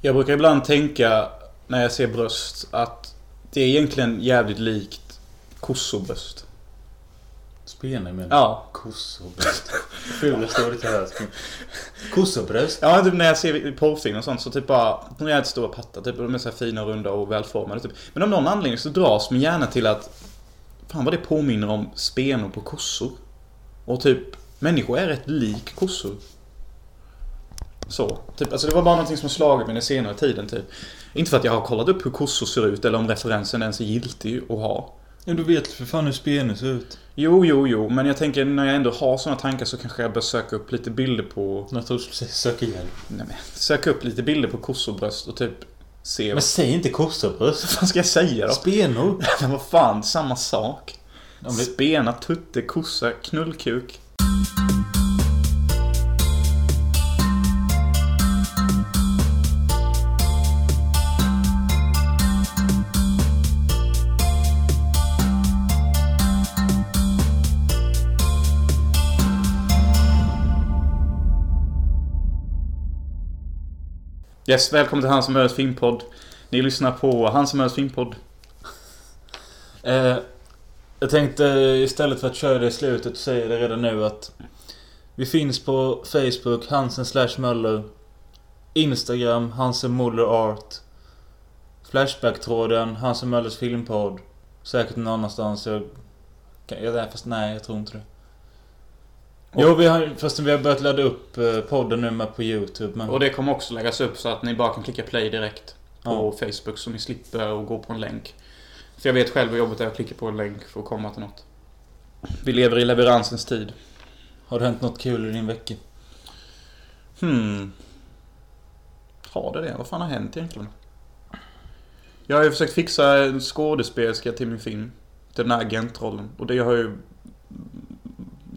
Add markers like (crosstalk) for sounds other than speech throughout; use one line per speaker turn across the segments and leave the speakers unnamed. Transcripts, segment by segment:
Jag brukar ibland tänka när jag ser bröst att det är egentligen jävligt likt kossobröst.
Spelar med
Ja.
kossobröst. Fulaste ordet jag hört. Kossobröst?
Ja, typ när jag ser porrfilmer och sånt så typ bara, de är jävligt stora pattar, typ, de är så här fina och runda och välformade typ. Men av någon anledning så dras min hjärna till att, fan vad det påminner om spenor på kossor. Och typ, människor är rätt lik kossor. Så, typ, alltså det var bara någonting som slagit mig den senare tiden typ. Inte för att jag har kollat upp hur kossor ser ut eller om referensen ens är giltig att ha.
Ja, du vet för fan hur spenor ser ut.
Jo, jo, jo, men jag tänker när jag ändå har såna tankar så kanske jag bör söka upp lite bilder på
Jag tror du skulle söka hjälp.
Nej, men, söka upp lite bilder på kossobröst och typ se
Men
vad
säg inte kossobröst.
(laughs) fan ska jag säga då?
Spenor.
(laughs) Men vad fan, samma sak.
Ja, men-
Spena, tutte, kossa, knullkuk. Yes, välkommen till Han som hörs filmpodd. Ni lyssnar på Han som hörs filmpodd.
Eh, jag tänkte eh, istället för att köra det i slutet så säger jag det redan nu att vi finns på Facebook, Hansen slash Möller. Instagram, Hansen Muller Art. Flashbacktråden, Hansen Möllers filmpodd. Säkert någon annanstans. Jag, kan, jag, nej, fast nej, jag tror inte det. Jo, vi har, fast vi har börjat ladda upp eh, podden nu med på YouTube. Men,
Och det kommer också läggas upp så att ni bara kan klicka play direkt
Ja.
på Facebook så ni slipper att gå på en länk. För jag vet själv hur jobbigt det är att klicka på en länk för att komma till något. Vi lever i leveransens tid.
Har det hänt något kul i din vecka?
Hmm. Har det det? Vad fan har hänt egentligen? Jag har ju försökt fixa en skådespelerska till min film. Till den här agentrollen. Och det har ju...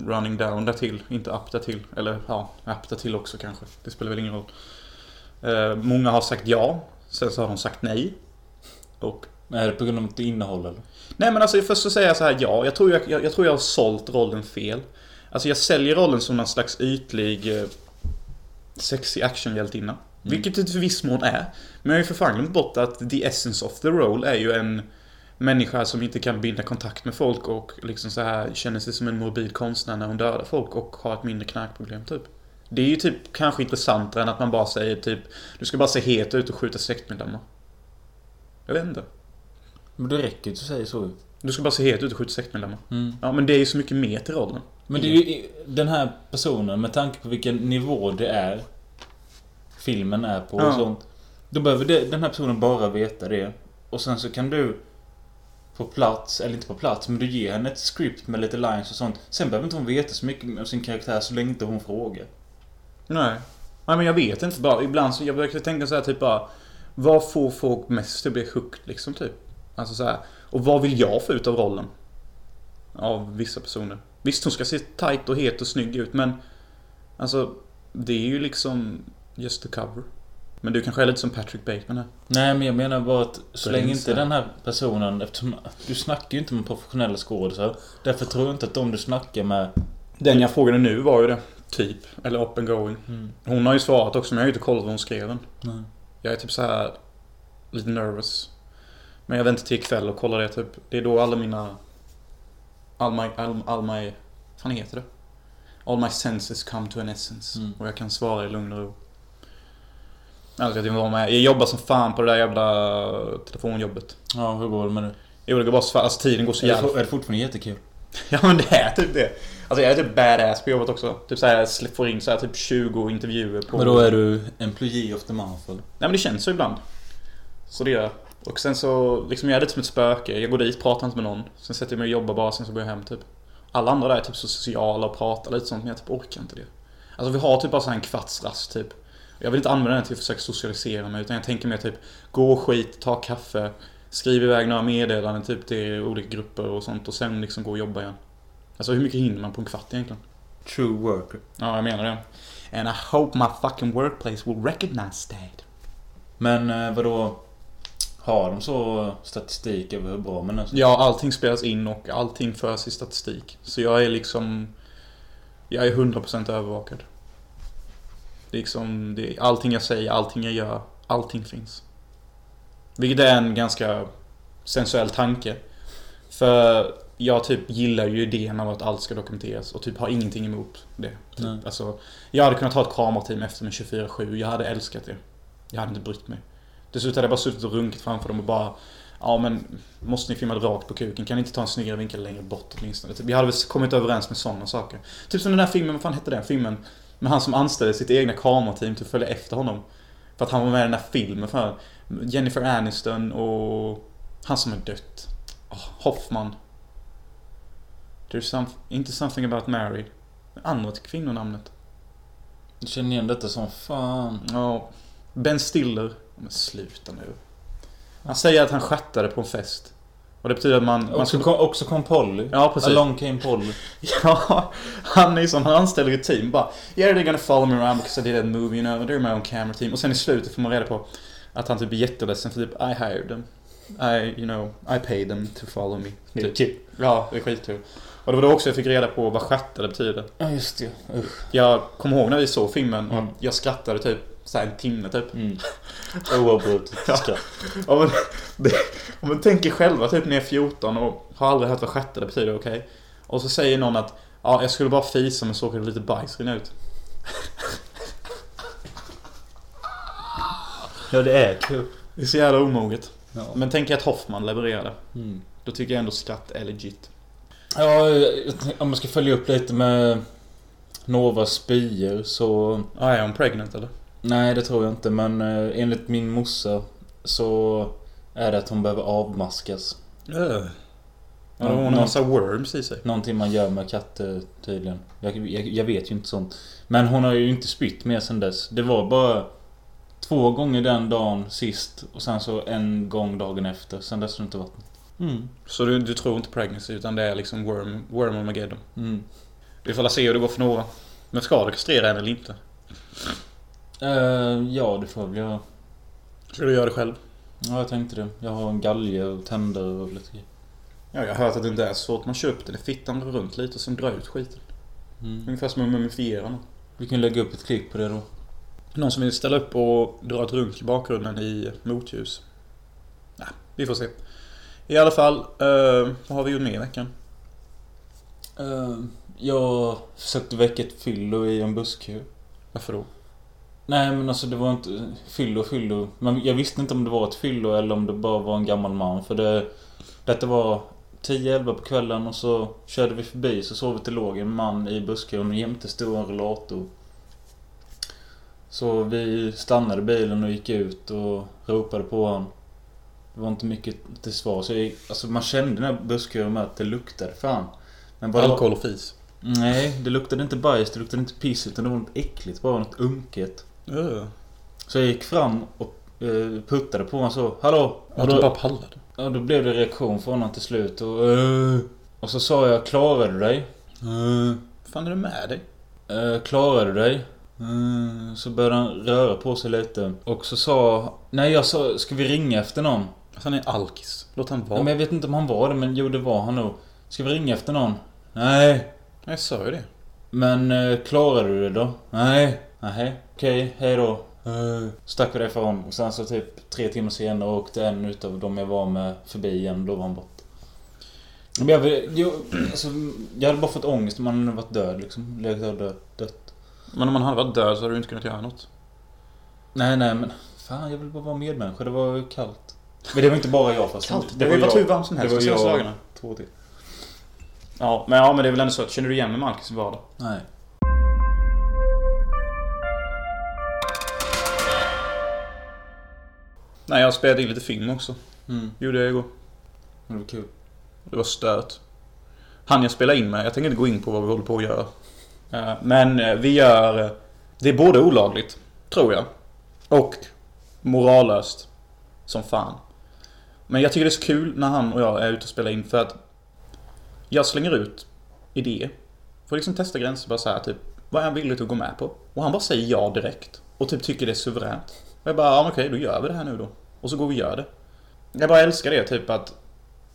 Running down där till, inte up där till. Eller ja, up där till också kanske. Det spelar väl ingen roll. Eh, många har sagt ja. Sen så har de sagt nej. Och...
Är det på grund av mitt innehåll eller?
Nej men alltså först så säger jag så här ja. Jag tror jag, jag, jag, tror jag har sålt rollen fel. Alltså jag säljer rollen som någon slags ytlig... Eh, sexig actionhjältinna.
Mm.
Vilket det till viss mån är. Men jag har ju för fan glömt bort att the essence of the role är ju en människa som inte kan binda kontakt med folk och liksom så här känner sig som en morbid konstnär när hon dödar folk och har ett mindre knarkproblem typ. Det är ju typ kanske intressantare än att man bara säger typ Du ska bara se het ut och skjuta sektmedlemmar. Jag vet inte.
Men det räcker ju att du säger så ju.
Du ska bara se het ut och skjuta sektmedlemmar.
Mm.
Ja men det är ju så mycket mer till rollen.
Men det är ju den här personen, med tanke på vilken nivå det är filmen är på
Ja.
och sånt. Då behöver det, den här personen bara veta det. Och sen så kan du på plats, eller inte på plats, men du ger henne ett script med lite lines och sånt. Sen behöver inte hon veta så mycket om sin karaktär så länge inte hon frågar.
Nej. Nej men jag vet inte bara. Ibland så jag brukar tänka så här typ bara. Vad får folk mest att bli hooked liksom typ? Alltså så här. Och vad vill jag få ut av rollen? Av vissa personer. Visst hon ska se tight och het och snygg ut men. Alltså. Det är ju liksom just the cover. Men du kanske är lite som Patrick Bateman här.
Nej men jag menar bara att så
Det är
länge
inte
inte den här personen, eftersom du snackar ju inte med professionella skådisar. Därför tror jag inte att de du snackar med...
Den jag frågade nu var ju det. Typ. Eller up and going.
Mm.
Hon har ju svarat också men jag har ju inte kollat vad hon skrev än.
Nej.
Jag är typ så här lite nervous. Men jag väntar till ikväll och kollar det typ. Det är då alla mina... All my... All, all my fan heter det? All my senses come to an essence.
Mm.
Och jag kan svara i lugn och ro. Alltså, jag, tycker vad med. jag jobbar som fan på det där jävla telefonjobbet.
Ja, hur går det med det?
Jo, det går bara så fan. Alltså tiden går så
Är det,
jävla...
for- är det fortfarande jättekul?
(laughs) Ja, men det är typ det. Alltså jag är typ badass på jobbet också. Typ såhär, jag slä- får in så här typ 20 intervjuer på...
Men då är du employee of the month eller?
Nej men det känns så ibland. Så det gör jag. Och sen så, liksom jag är lite som ett spöke. Jag går dit, pratar inte med någon. Sen sätter jag mig och jobbar bara, sen så går jag hem typ. Alla andra där är typ så sociala och pratar lite sånt, men jag typ orkar inte det. Alltså vi har typ bara så här en kvarts rast typ. Jag vill inte använda den till att försöka socialisera mig, utan jag tänker mer typ gå och skit, ta kaffe, skriv iväg några meddelanden typ till olika grupper och sånt och sen liksom gå och jobba igen. Alltså hur mycket hinner man på en kvart egentligen?
True worker.
Ja, jag menar det. And I hope my fucking workplace will recognize that.
Men eh, vadå? Har de så statistik över hur bra man är? så?
Ja, allting spelas in och allting förs i statistik. Så jag är liksom... Jag är 100% övervakad. Liksom, det, allting jag säger, allting jag gör, Allting finns. Vilket är en ganska sensuell tanke. För jag typ gillar ju idén om att allt ska dokumenteras och typ har ingenting emot det.
Nej.
Typ. Alltså, jag hade kunnat ha ett kamerateam efter mig 24-7. Jag hade älskat det. Jag hade inte brytt mig. Dessutom hade jag bara suttit och runkit framför dem och bara Ja men, måste ni filma rakt på kuken? Kan ni inte ta en snyggare vinkel längre bort åtminstone? Typ, jag hade väl kommit överens med sådana saker. Typ som den där filmen, vad fan hette den filmen? Med han som anställde sitt egna kamerateam till att följa efter honom. För att han var med i den där filmen för Jennifer Aniston och han som är dött. Åh, Hoffman. There's some, inte something about Mary. Det andra kvinnonamnet.
Jag känner igen detta som fan.
Ja. ben Stiller. Men sluta nu. Han säger att han schattade på en fest. Och det betyder att man... man
Också, kom, också kom Polly.
Ja, precis.
Along came Polly.
(laughs) Ja, han är ju sån, han anställer ju ett team bara Yeah they're gonna follow me around because I did that movie you know, they're my own camera team. Och sen i slutet får man reda på att han typ är jätteledsen för typ I hired them. I, you know, I paid them to follow me.
Det är
Typ. Ja, det är skittur. Och det var då också jag fick reda på vad stjärtade betyder.
Ja, just det. Usch.
Jag kommer ihåg när vi såg filmen och
Mm.
jag skrattade typ så här en timme typ.
Mm. (laughs) Oavbrutet
Ja.
skratt.
Om man, (laughs) det, om man tänker själva, typ när jag är 14 och har aldrig hört vad stjärtade betyder, okej? Och så säger någon att ja, jag skulle bara fisa men såg det lite bajs rinna ut.
Ja, det är kul.
Det är så jävla omoget.
Ja.
Men tänk er att Hoffman levererade.
Mm.
Då tycker jag ändå skratt är legit.
Ja, jag tänk- om man ska följa upp lite med Novas spyor så...
Ah, är hon pregnant eller?
Nej, det tror jag inte. Men eh, enligt min morsa så är det att hon behöver avmaskas.
Uh. Ja,
Ja,
hon har en
någon-
massa worms i sig.
Någonting man gör med katter tydligen. Jag, jag, jag vet ju inte sånt. Men hon har ju inte spytt mer sen dess. Det var bara två gånger den dagen sist och sen så en gång dagen efter. Sen dess har det inte varit något. Mm.
Så du, du tror inte pregnancy utan det är liksom worm, worm Armageddon.
Mm.
Vi får la se hur det går för några. Men ska du kastrera henne eller inte?
Eh, ja, det får jag väl göra.
Ska du göra det själv?
Ja, jag tänkte det. Jag har en galge och tänder och lite grejer.
Ja, jag har hört att det inte är svårt. Man köper den i fittan, drar runt lite och sen drar ut skiten.
Mm.
Ungefär som att mumifiera någon.
Vi kan lägga upp ett klipp på det då.
Någon som vill ställa upp och dra ett runk i bakgrunden i motljus? Nej, vi får se. I alla fall, eh, vad har vi gjort mer i veckan?
Eh, jag försökte väcka ett fyllo i en busskur.
Varför då?
Nej men alltså det var inte fyllo, fyllo. Men jag visste inte om det var ett fyllo eller om det bara var en gammal man. För det... Detta var 10-11 på kvällen och så körde vi förbi så såg vi att det låg en man i buskon jämte stod en rullator. Så vi stannade bilen och gick ut och ropade på honom. Det var inte mycket till svar. Så jag, gick- alltså man kände den här buskön med att det luktade fan. Men vad-
Alkohol och fis.
Nej, det luktade inte bajs, det luktade inte piss utan det var något äckligt, bara något unket.
Uh,
Så jag gick fram och eh, puttade på honom så. Hallå!
och
Och
du bara
då,
pallade.
och då blev det reaktion från honom till slut och... eh, och så sa jag klarade du dig? Eh,
Vad fan är det med dig?
eh, klarade du dig? Eh, så började han röra på sig lite. Och så sa... Nej jag sa, ska vi ringa efter någon?
Alltså, han är alkis. Låt han vara.
Ja, men jag vet inte om han var det men jo det var han nog. Ska vi ringa efter någon? Nej.
Jag sa ju det.
Men eh, klarade du det då? Nej. Nej. Okej, hej då. Uh, stack vi därifrån och sen så typ tre timmar senare åkte en utav dem jag var med förbi igen. Då var han borta. Men jag, vill- jo, alltså, jag hade bara fått ångest om han hade varit död liksom. Legat och död, dött.
Men om han hade varit död så hade du inte kunnat göra något.
Nej, nej men. Fan, jag vill bara vara medmänniska. Det var ju kallt. Men det var inte bara jag fast.
Det var ju varit hur
jag.
varmt som helst
Det
de
var
senaste
jag.
dagarna.
Två till.
Ja men, ja, men det är väl ändå så att känner du igen med Marcus i vardag?
Nej.
Nej, jag spelade in lite film också.
Mm.
Gjorde jag igår.
Men det var kul.
Det var stört. Han jag spelar in med, jag tänker inte gå in på vad vi håller på att göra. Eh, Men eh, vi gör... eh, Det är både olagligt, tror jag. Och morallöst. Som fan. Men jag tycker det är så kul när han och jag är ute och spelar in för att jag slänger ut idéer. Får liksom testa gränser bara så här typ. Vad är han villig att gå med på? Och han bara säger ja direkt. Och typ tycker det är suveränt. Och jag bara, ja men okej, då gör vi det här nu då. Och så går vi och gör det. Jag bara älskar det typ att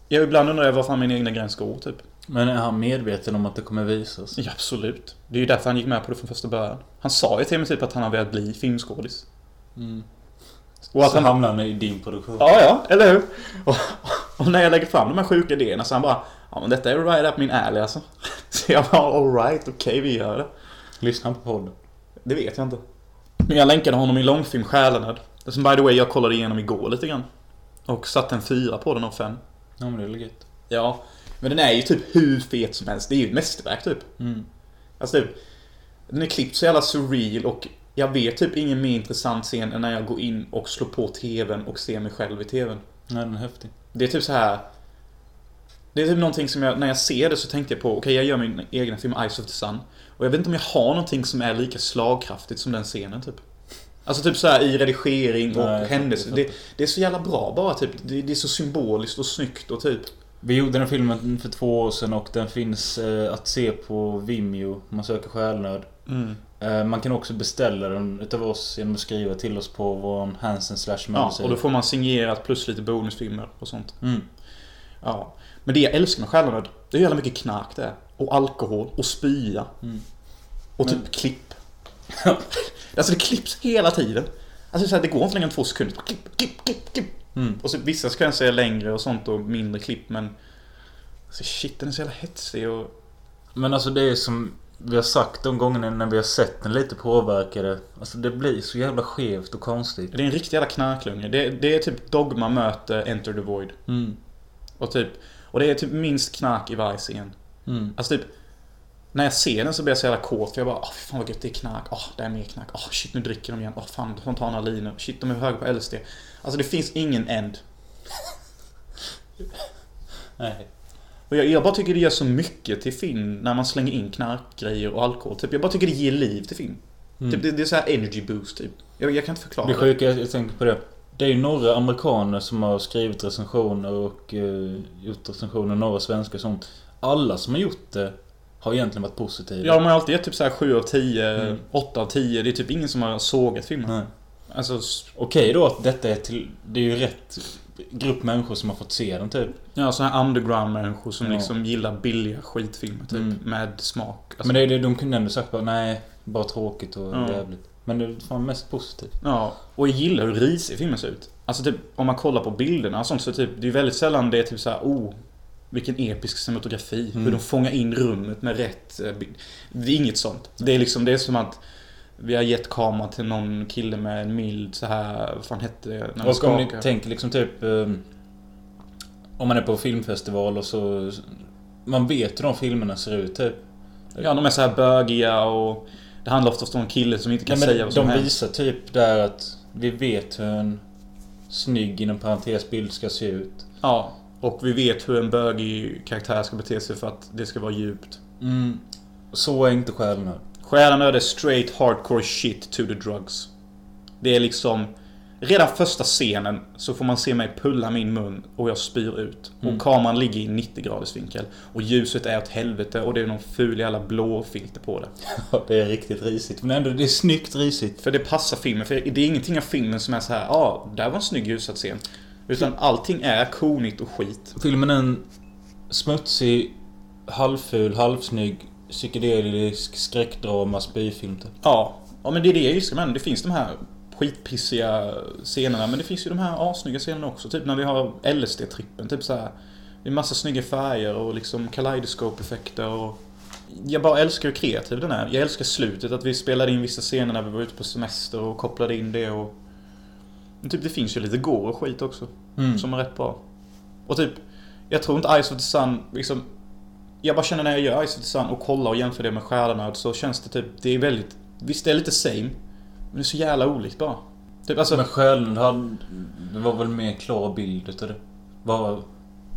jag ibland undrar jag var fan min egna gräns går typ.
Men är han medveten om att det kommer visas?
Ja, absolut. Det är ju därför han gick med på det från första början. Han sa ju till mig typ att han har velat bli filmskådis.
Mm.
Och att
så
han,
hamnar han i din produktion.
ja, ja, eller hur? Och, och när jag lägger fram de här sjuka idéerna så han bara Ja men detta är right up min alley alltså. (laughs) Så jag bara alright, okej vi gör det.
Lyssna på podden.
Det vet jag inte. Men jag länkade honom i långfilm Själenöd. Som by the way jag kollade igenom igår lite grann. Och satte en fyra på den av fem.
Ja men det är väl gött.
Ja, men den är ju typ hur fet som helst. Det är ju ett mästerverk typ.
Mm.
Alltså typ, den är klippt så jävla surreal och jag vet typ ingen mer intressant scen än när jag går in och slår på TVn och ser mig själv i TVn.
Nej, den är häftig.
Det är typ så här. Det är typ någonting som jag, när jag ser det så tänkte jag på, okej jag gör min egna film Eyes of the Sun. Och jag vet inte om jag har någonting som är lika slagkraftigt som den scenen typ. Alltså typ så här i redigering och
Nej, jag fattar,
händelser.
jag
Det, det är så jävla bra bara typ. Det, det är så symboliskt och snyggt och typ.
Vi gjorde den här filmen för två år sedan och den finns eh, att se på Vimeo. om Man söker själnöd.
Mm.
Eh, man kan också beställa den utav oss genom att skriva till oss på vår Hansen slash
Ja, och då
Mölsö.
får man signerat plus lite bonusfilmer och sånt.
Mm.
Ja. Men det jag älskar med Själanöd, det är jävla mycket knark det är. Och alkohol och spya.
Mm.
Och typ
Men-
klipp. (laughs) alltså det klipps hela tiden. Alltså så här, det går inte längre än två sekunder. Klipp, klipp, klipp, klipp.
Mm.
Och så vissa sekvenser är längre och sånt och mindre klipp men... Alltså shit, den är så jävla hetsig och...
Men alltså det är som vi har sagt de gångerna när vi har sett den lite påverkade. Alltså det blir så jävla skevt och konstigt.
Det är en riktig jävla knarklunge. Det, det är typ Dogma möter Enter the Void.
Mm.
Och typ... Och det är typ minst knark i varje scen.
Mm.
Alltså typ När jag ser den så blir jag så jävla kåt för jag bara åh fy fan vad gött det är knark, åh det är mer knark, åh shit nu dricker de igen, åh fan de tar några linor, shit de är höga på LSD Alltså det finns ingen end
Nej.
Och jag, jag bara tycker det gör så mycket till film när man slänger in knarkgrejer och alkohol typ Jag bara tycker det ger liv till film
Mm.
typ, det, det är så här energy boost typ Jag, jag kan inte förklara
Det sjuka, jag jag tänker på det. Det är ju några amerikaner som har skrivit recensioner och eh, gjort recensioner, några svenskar och sånt. Alla som har gjort det har egentligen varit positiva.
Ja, de har alltid gett typ så här 7 av 10,
Mm.
8 av 10. Det är typ ingen som har sågat filmen.
Nej.
Alltså, s-
Okej då att detta är till... Det är ju rätt grupp människor som har fått se den typ.
ja, såna här underground-människor som
Ja.
liksom gillar billiga skitfilmer typ.
Mm.
Med smak. Alltså,
Men det är det de kunde ändå sagt bara nej, bara tråkigt och
Ja.
jävligt. Men det är fan mest positivt.
Ja, och jag gillar hur risig filmen ser ut. Alltså typ, om man kollar på bilderna och sånt så typ, det är ju väldigt sällan det är typ så här, oh, vilken episk cinematografi.
Mm.
Hur de fångar in rummet med rätt eh, bild. Det är inget sånt. Det är liksom, det är som att vi har gett kameran till någon kille med en mild så här, vad fan hette det? När man
och om ni
skakar.
tänker liksom typ... eh, om man är på filmfestival och så... Man vet hur de filmerna ser ut typ.
Ja, de är så här bögiga och det handlar oftast om en kille som inte kan
Nej, men
säga vad som
de
händer.
visar typ där att vi vet hur en snygg inom parentes bild ska se ut.
Ja, och vi vet hur en bögig karaktär ska bete sig för att det ska vara djupt.
Mm. Så är inte själen
Själanöd är straight hardcore shit to the drugs. Det är liksom... Redan första scenen så får man se mig pulla min mun och jag spyr ut.
Mm.
Och kameran ligger i 90 graders vinkel. Och ljuset är åt helvete och det är någon ful jävla blå filter på det.
(laughs) Ja, det är riktigt risigt. Men ändå, det är snyggt risigt.
För det passar filmen. För det är ingenting av filmen som är så här, ja, ah, där var en snygg ljussatt scen. Utan allting är konigt och skit.
Filmen är en smutsig, halvful, halvsnygg, psykedelisk skräckdrama spyfilm typ.
Ja, ja men det är det jag älskar med den. Det finns de här skitpissiga scenerna men det finns ju de här assnygga scenerna också. Typ när vi har LSD-trippen. Typ så här. Det är massa snygga färger och liksom kaleidoskop-effekter och... Jag bara älskar hur kreativ den är. Jag älskar slutet, att vi spelade in vissa scener när vi var ute på semester och kopplade in det och... Men typ det finns ju lite gore och skit också.
Mm.
Som är rätt bra. Och typ, jag tror inte Ice of the Sun liksom... Jag bara känner när jag gör Ice of the Sun och kollar och jämför det med Stjärnöd så känns det typ, det är väldigt... Visst det är lite same, men det är så jävla olikt bara. Typ alltså,
Men själen hade... Det var väl mer klar bild utav det. Bara,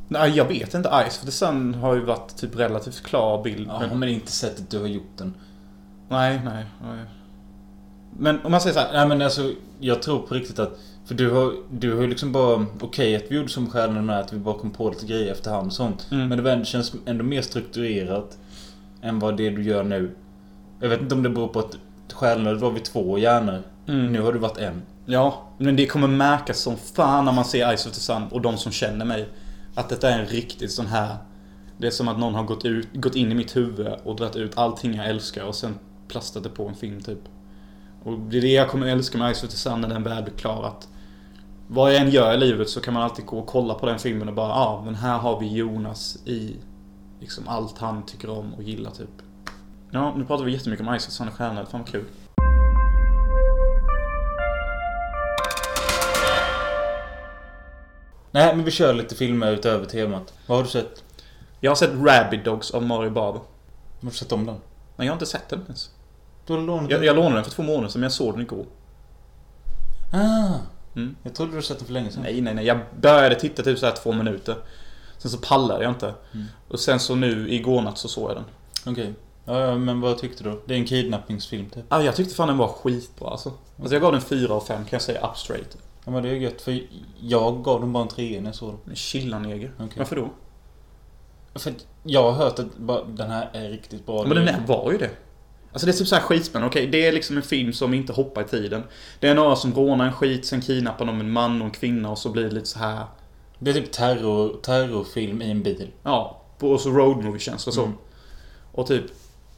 nej jag vet inte, Ice of the Sun har ju varit typ relativt klar bild.
ja,
men,
men det är inte sättet du har gjort den.
nej, nej, nej. Men om man säger så här,
Nej men alltså, jag tror på riktigt att... För du har du har ju liksom bara... Okej att vi gjorde som stjärnorna med att vi bara kom på lite grejer efterhand och sånt.
Mm.
Men det var ändå, känns ändå mer strukturerat än vad det är du gör nu. Jag vet inte om det beror på att stjärnorna var vi två hjärnor.
mm,
Nu har du varit en.
Ja, men det kommer märkas som fan när man ser Ice of the Sun och de som känner mig. Att detta är en riktigt sån här... Det är som att någon har gått, ut, gått in i mitt huvud och dragit ut allting jag älskar och sen plastat det på en film typ. Och det är det jag kommer älska med Ice of the Sun när den väl blir klar. Att Vad jag än gör i livet så kan man alltid gå och kolla på den filmen och bara ja, ah, men här har vi Jonas i liksom allt han tycker om och gillar typ. Ja, nu pratar vi jättemycket om Isaac, han är stjärna. Fan vad kul.
Nej, men vi kör lite filmer utöver temat. Vad har du sett?
Jag har sett Rabid Dogs av Mario Barber.
Har du sett om den?
Men jag har inte sett den ens.
Du har lånat
Jag, jag lånade den för två månader sedan men jag såg den igår.
Ah!
Mm.
Jag trodde du hade sett den för länge sedan.
Nej, nej, nej. Jag började titta typ så här två minuter. Sen så pallade jag inte.
Mm.
Och sen så nu igår natt så såg jag den.
Okej. Ja, ja, men vad tyckte du? Det är en kidnappningsfilm typ.
Ah, jag tyckte fan den var skitbra alltså. Alltså jag gav den fyra av fem kan jag säga up straight.
Ja, men det är ju gött för jag gav dem bara en trea när jag såg den.
Men chilla neger.
Okej.
Varför då?
För att jag har hört att bara, den här är riktigt bra.
Men den här var ju det. Alltså det är typ så här skitspännande. Okej, det är liksom en film som inte hoppar i tiden. Det är några som rånar en skit, sen kidnappar de en man och en kvinna och så blir det lite så här.
Det är typ terror, terrorfilm i en bil.
Ja, och så road movie känns det som.
Mm.
Och typ,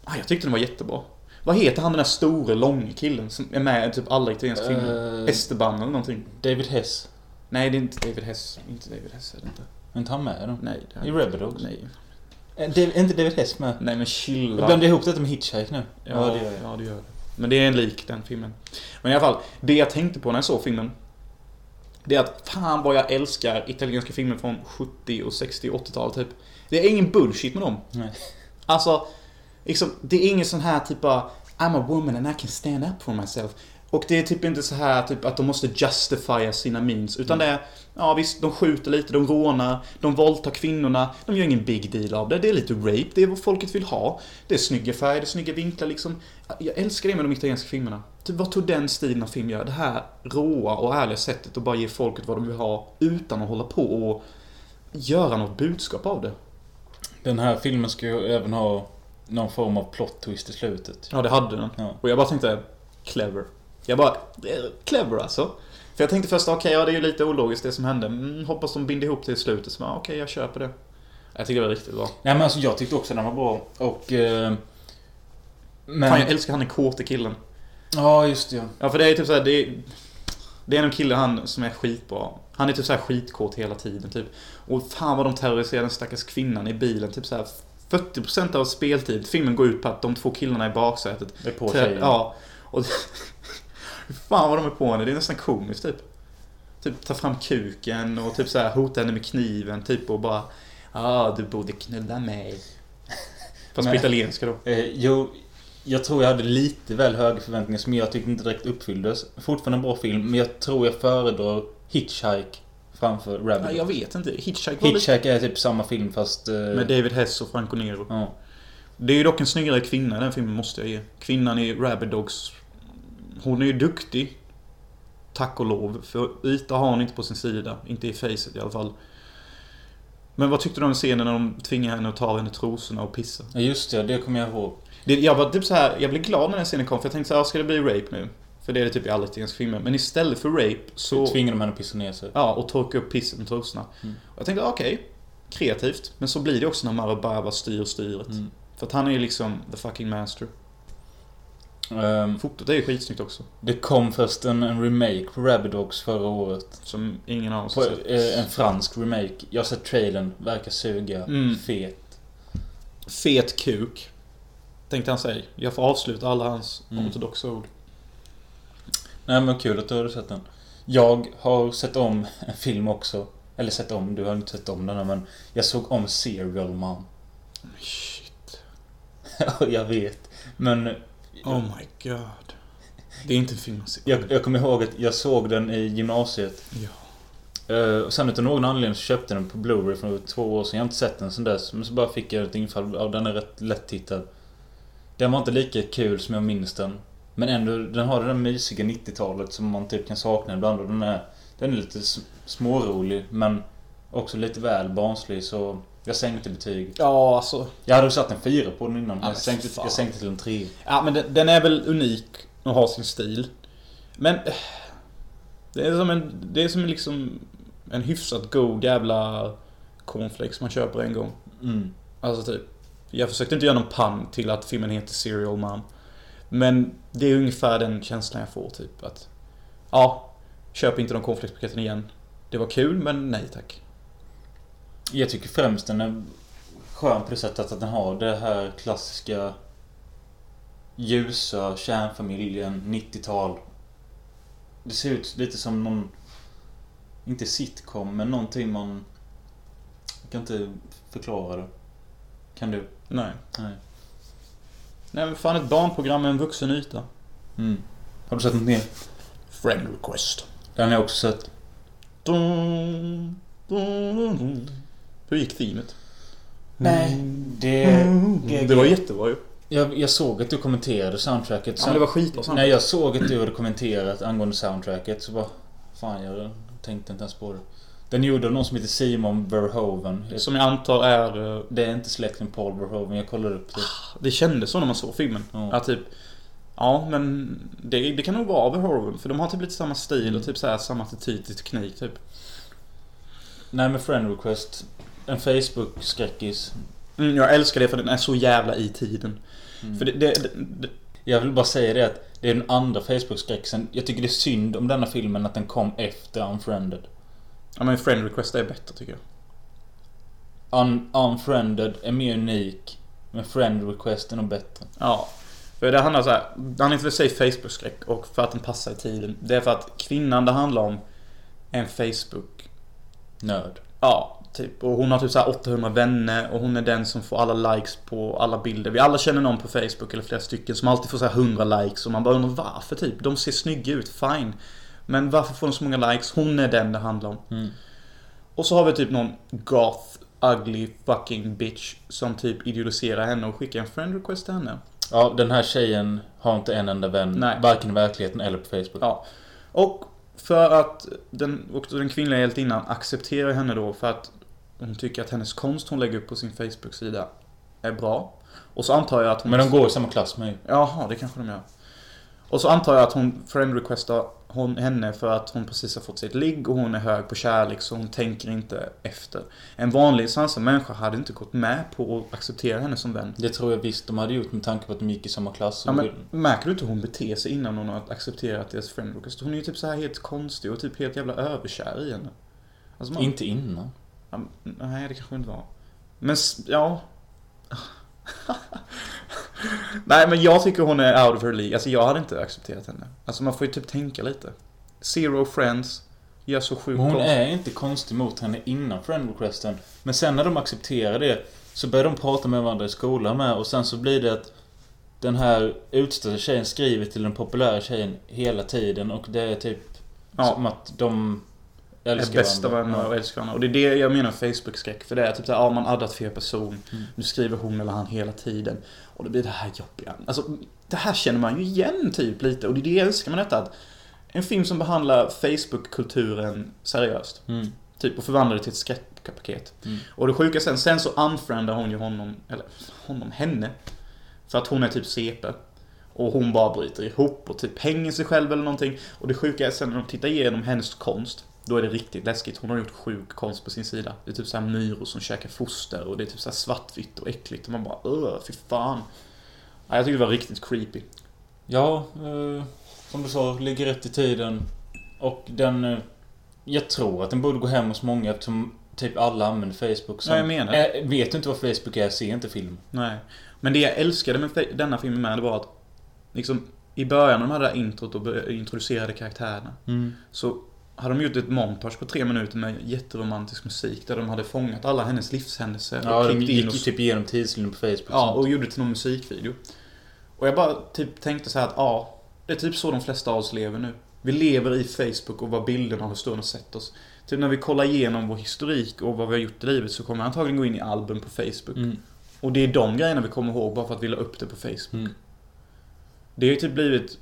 ah, jag tyckte den var jättebra. Vad heter han den där store, långa killen som är med i typ alla italienska filmer?
Eh,
Esteban eller någonting.
David Hess.
Nej, det är inte David Hess. Inte David Hess är det inte.
Är inte han med i den?
Nej, det
I
är
Rebel Dogs?
Nej.
Eh, Dav- Är inte David Hess med?
Nej men
Jag
chilla.
blandar ihop detta med Hitchhike nu.
Ja, ja, det gör jag. ja, det gör det. Men det är en lik den filmen. Men i alla fall, det jag tänkte på när jag såg filmen. Det är att fan vad jag älskar italienska filmer från 70 och 60 och 80-tal typ. Det är ingen bullshit med dem.
Nej.
Alltså, liksom, det är ingen sån här typ av I'm a woman and I can stand up for myself. Och det är typ inte så här typ att de måste justifiera sina means. Utan det är, ja visst, de skjuter lite, de rånar, de våldtar kvinnorna. De gör ingen big deal av det. Det är lite rape, det är vad folket vill ha. Det är snygga färger, det är snygga vinklar liksom. Jag älskar det med de italienska filmerna. Typ, vad tog den stilen av film gör? Det här råa och ärliga sättet att bara ge folket vad de vill ha utan att hålla på och göra något budskap av det.
Den här filmen ska ju även ha någon form av plot twist i slutet.
Ja, det hade den.
Ja.
Och jag bara tänkte, clever. Jag bara, eh, clever alltså. För jag tänkte först, okej, ja det är ju lite ologiskt det som hände. Mm, hoppas de binder ihop det i slutet. Så bara, okej, jag köper det. Jag tycker det var riktigt bra.
Nej men alltså jag tyckte också den var bra. Och... Eh, men...
Fan, jag älskar han den kåte killen.
Ja, just det. ja.
Ja, för det är typ såhär, det är... Det är en kille han som är skitbra. Han är typ så här skitkåt hela tiden typ. Och fan vad de terroriserar den stackars kvinnan i bilen. Typ så här 40% av speltid. Filmen går ut på att de två killarna i baksätet
Det är på
Trä-
tjejen.
Ja. Och (laughs) fan vad de är på henne. Det är nästan komiskt typ. Typ ta fram kuken och typ så här hota henne med kniven typ och bara ah, du borde knulla mig. (laughs) Fast på
Nej.
italienska då.
Eh, jo, jag tror jag hade lite väl höga förväntningar som jag tyckte inte direkt uppfylldes. Fortfarande en bra film, men jag tror jag föredrar Hitchhike framför
Nej,
Rabbit.
jag vet inte. Hitchhike var lite...
Hitchhike är typ samma film fast... Eh,
Med David Hess och Franco Nero.
ja.
Det är ju dock en snyggare kvinna i den filmen måste jag ge. Kvinnan i Rabid Dogs. Hon är ju duktig. Tack och lov. För yta har hon inte på sin sida. Inte i facet i alla fall. Men vad tyckte du om scenen när de tvingar henne att ta henne trosorna och pissa?
Ja, just det, det kommer jag ihåg.
Det, jag var typ så här, jag blev glad när den scenen kom för jag tänkte så här, "Ah, ska det bli rape nu? För det är det typ i alla italienska filmer. Men istället för rape så...
Tvingar de henne att pissa ner sig.
Ja, och torka upp pisset med trosorna.
Mm.
Och jag tänkte, "Ah, okej. kreativt. Men så blir det också när Marabava styr styret.
Mm.
För att han är ju liksom the fucking master.
Ehm,
Fotot är ju skitsnyggt också.
det kom först en, en remake på Rabbit Dogs förra året.
Som ingen av oss
På,
har sett.
eh, en fransk remake. Jag har sett trailern, verkar suga.
Mm.
Fet.
Fet kuk. Tänkte han säga. Jag får avsluta alla hans
Mm.
ortodoxa ord.
Nej men kul att du har sett den. Jag har sett om (laughs) en film också. Eller sett om, du har inte sett om den här, men jag såg om Serial (laughs) Man.
Shit.
jag vet. Men
Oh my god. Det är inte en film att se.
jag, jag kommer ihåg att jag såg den i gymnasiet.
Ja.
Eh, och sen utav någon anledning så köpte jag den på Blu-ray för två år sedan. Jag har inte sett den sedan dess. Men så bara fick jag ett infall. Ja, den är rätt lättittad. Den var inte lika kul som jag minns den. Men ändå, den har det där mysiga 90-talet som man typ kan sakna ibland. Och den är, den är lite s- smårolig men också lite väl barnslig så jag sänkte betyg.
Ja, alltså.
Jag hade satt en fyra på den innan men
Ja,
jag,
men
sänkte,
fan.
jag sänkte till en tre.
Ja, men den, den är väl unik och har sin stil. Men... eh, Det är som en... Det är som en liksom... En hyfsat god jävla cornflakes man köper en gång.
Mm.
Alltså typ. Jag försökte inte göra någon pann till att filmen heter Serial Mom. Men det är ungefär den känslan jag får typ att... Ja. Köp inte de cornflakespaketen igen. Det var kul, men nej tack.
Jag tycker främst den är skön på det sättet att den har det här klassiska ljusa kärnfamiljen, 90-tal. Det ser ut lite som någon, inte sitcom, men någonting man... Jag kan inte förklara det. Kan du?
Nej.
Nej.
Nej men fan ett barnprogram med en vuxen yta.
Mm. Har du sett något mer?
Friend request.
Den har jag också sett.
Dun, dun, dun, dun. Hur gick teamet?
Nej, det...
Mm. Det var jättebra ju.
Jag, jag såg att du kommenterade soundtracket.
Ja, men det var skitbra
När
soundtrack.
jag såg att du hade kommenterat angående soundtracket så bara... Fan, jag tänkte inte ens på det. Den gjorde av någon som heter Simon Verhoeven. Jag-
Som jag antar är... eh,
Det är inte släkt med Paul Verhoeven, jag kollar upp det.
Det kändes så när man såg filmen.
Ja.
Ah, Att typ... Ja, men det, det kan nog vara Verhoeven. För de har typ lite samma stil och typ så här, samma attityd till teknik typ.
Nej men Friend Request. En Facebook-skräckis.
Mm, jag älskar det för den är så jävla i tiden.
Mm.
För det, det, det, det...
Jag vill bara säga det att det är den andra Facebook-skräckisen. Jag tycker det är synd om denna filmen att den kom efter Unfriended.
Ja men Friend Request är bättre tycker jag.
Un Unfriended är mer unik. Men Friend Request är nog bättre.
Ja. För det handlar så här, det handlar inte för sig Facebook-skräck och för att den passar i tiden. Det är för att kvinnan det handlar om är en Facebook...
Nörd.
Ja, typ. Och hon har typ så här 800 vänner och hon är den som får alla likes på alla bilder. Vi alla känner någon på Facebook eller flera stycken som alltid får så här 100 likes och man bara undrar varför typ. De ser snygga ut, fine. Men varför får de så många likes? Hon är den det handlar om.
Mm.
Och så har vi typ någon goth, ugly fucking bitch som typ idealiserar henne och skickar en friend request till henne.
Ja, den här tjejen har inte en enda vän.
Nej.
Varken i verkligheten eller på Facebook.
Ja. Och för att den, och den kvinnliga hjältinnan accepterar henne då för att hon tycker att hennes konst hon lägger upp på sin Facebook-sida är bra. Och så antar jag att hon...
Men de går i samma klass med mig.
Jaha, det kanske de gör. Och så antar jag att hon friend requestar hon, henne för att hon precis har fått sitt ligg och hon är hög på kärlek så hon tänker inte efter. En vanlig sansad människa hade inte gått med på att acceptera henne som vän.
Det tror jag visst de hade gjort med tanke på att de gick i samma klass.
Ja, men, märker du inte hur hon beter sig innan hon har accepterat deras friend request? Hon är ju typ så här helt konstig och typ helt jävla överkär i henne. Alltså man...
Inte innan.
Ja, men- nej, det kanske inte var. Men s- ja... (laughs) nej, men jag tycker hon är out of her league. Alltså jag hade inte accepterat henne. Alltså man får ju typ tänka lite. Zero friends. Gör så sjukt
Men hon
konst-
är inte konstig mot henne innan friend requesten. Men sen när de accepterar det så börjar de prata med varandra i skolan med och sen så blir det att den här utstötta tjejen skriver till den populära tjejen hela tiden och det är typ
Ja.
som att de
är
älskar
bästa vänner och älskar varandra. Och det är det jag menar med Facebook-skräck. För det är typ såhär, ja man addat fel person.
Mm.
Nu skriver hon eller han hela tiden. Och då blir det här jobbiga. Alltså, det här känner man ju igen typ lite. Och det är det jag älskar med detta. Att en film som behandlar Facebook-kulturen seriöst.
Mm.
Typ och förvandlar det till ett skräckpaket.
Mm.
Och det sjuka sen, sen så unfriendar hon ju honom, eller honom, henne. För att hon är typ CP. Och hon bara bryter ihop och typ hänger sig själv eller någonting. Och det sjuka är sen när de tittar igenom hennes konst. Då är det riktigt läskigt. Hon har gjort sjuk konst på sin sida. Det är typ såhär myror som käkar foster och det är typ såhär svartvitt och äckligt. Och man bara öh, fy fan. Ja, jag tycker det var riktigt creepy.
Ja, eh, som du sa, ligger rätt i tiden. Och den... Eh, jag tror att den borde gå hem hos många eftersom typ alla använder Facebook. som-
Ja, jag menar.
Eh, vet du inte vad Facebook är, se inte film.
Nej. Men det jag älskade med fe- denna filmen med, det var att liksom i början när de hade det här introt och be- introducerade karaktärerna. Så hade de gjort ett montage på tre minuter med jätteromantisk musik där de hade fångat alla hennes livshändelser.
Ja,
och
de
klippt in
gick
och,
ju typ igenom tidslinjen på Facebook.
ja,
och...
och gjorde det till någon musikvideo. Och jag bara typ tänkte så här att ja, det är typ så de flesta av oss lever nu. Vi lever i Facebook och vad bilderna har stunden sett oss. Typ när vi kollar igenom vår historik och vad vi har gjort i livet så kommer jag antagligen gå in i album på Facebook.
Mm.
Och det är de grejerna vi kommer ihåg bara för att vi la upp det på Facebook.
Mm.
Det har ju typ blivit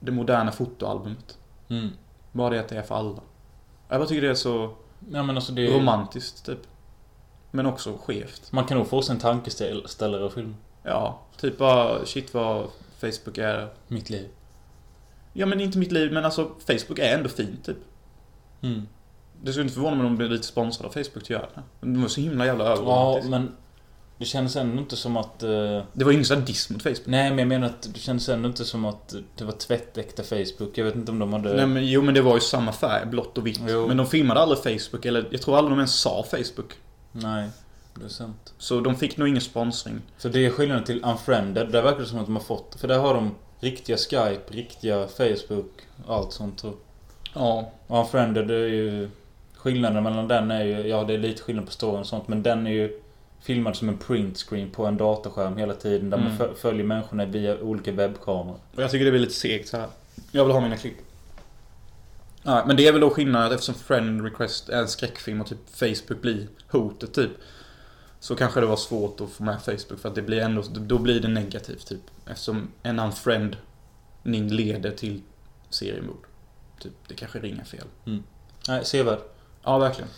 det moderna fotoalbumet.
Mm.
Bara det att det är för alla. Jag bara tycker det är så
Ja, men alltså det är...
romantiskt typ. Men också skevt.
Man kan nog få sig en tankeställare av film.
Ja, typ bara shit vad Facebook är.
Mitt liv.
Ja men inte mitt liv men alltså Facebook är ändå fint typ.
Mm.
Det skulle inte förvåna mig om de blir lite sponsrade av Facebook till att göra det. Men De var så himla jävla
Ja,
överromantiska.
men... Det kändes ändå inte som att... eh,
Det var ju ingen sadism mot Facebook.
Nej, men jag menar att det kändes ändå inte som att det var tvättäkta Facebook. Jag vet inte om de hade...
Nej men jo men det var ju samma färg, blått och vitt.
Jo.
Men de filmade aldrig Facebook, eller jag tror aldrig de ens sa Facebook.
Nej, det är sant.
Så de fick nog ingen sponsring.
För det är skillnaden till Unfriended. Där verkar det som att de har fått... För där har de riktiga Skype, riktiga Facebook, allt sånt tror
Ja.
jag. Unfriended är ju... Skillnaden mellan den är ju... Ja, det är lite skillnad på storyn och sånt. Men den är ju filmad som en print screen på en dataskärm hela tiden. Där man
Mm.
fö- följer människorna via olika webbkameror.
Och jag tycker det blir lite segt så här. Jag vill ha mina klipp. Ja, men det är väl då skillnaden eftersom Friend Request är en skräckfilm och typ Facebook blir hotet typ. Så kanske det var svårt att få med Facebook för att det blir ändå, då blir det negativt typ. Eftersom en unfriend ni leder till seriemord. Typ, det kanske ringer fel.
Nej, sevärd.
Ja, verkligen.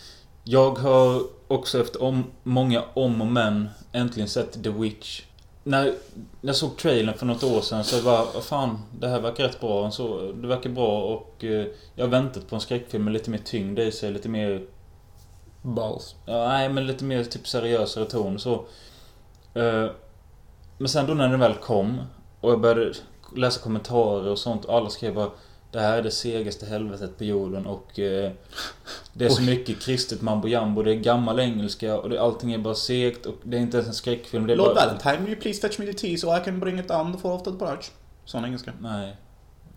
Jag har också efter om, många om och men äntligen sett The Witch. När jag såg trailern för något år sedan så var vad fan, det här verkar rätt bra. Så, det verkar bra och eh, jag har väntat på en skräckfilm med lite mer tyngd i sig, lite mer
Balls.
Ja, nej, men lite mer typ seriösare ton så. Eh, Men sen då när den väl kom och jag började läsa kommentarer och sånt. och Alla skrev bara Det här är det segaste helvetet på jorden och eh, Det är så
Oj.
mycket kristet mambo jambo. Det är gammal engelska och det, allting är bara segt och det är inte ens en skräckfilm. Det är
Lord
bara...
Valentine, will you please fetch me the tea so I can bring it down before after the brunch? Sån engelska.
Nej.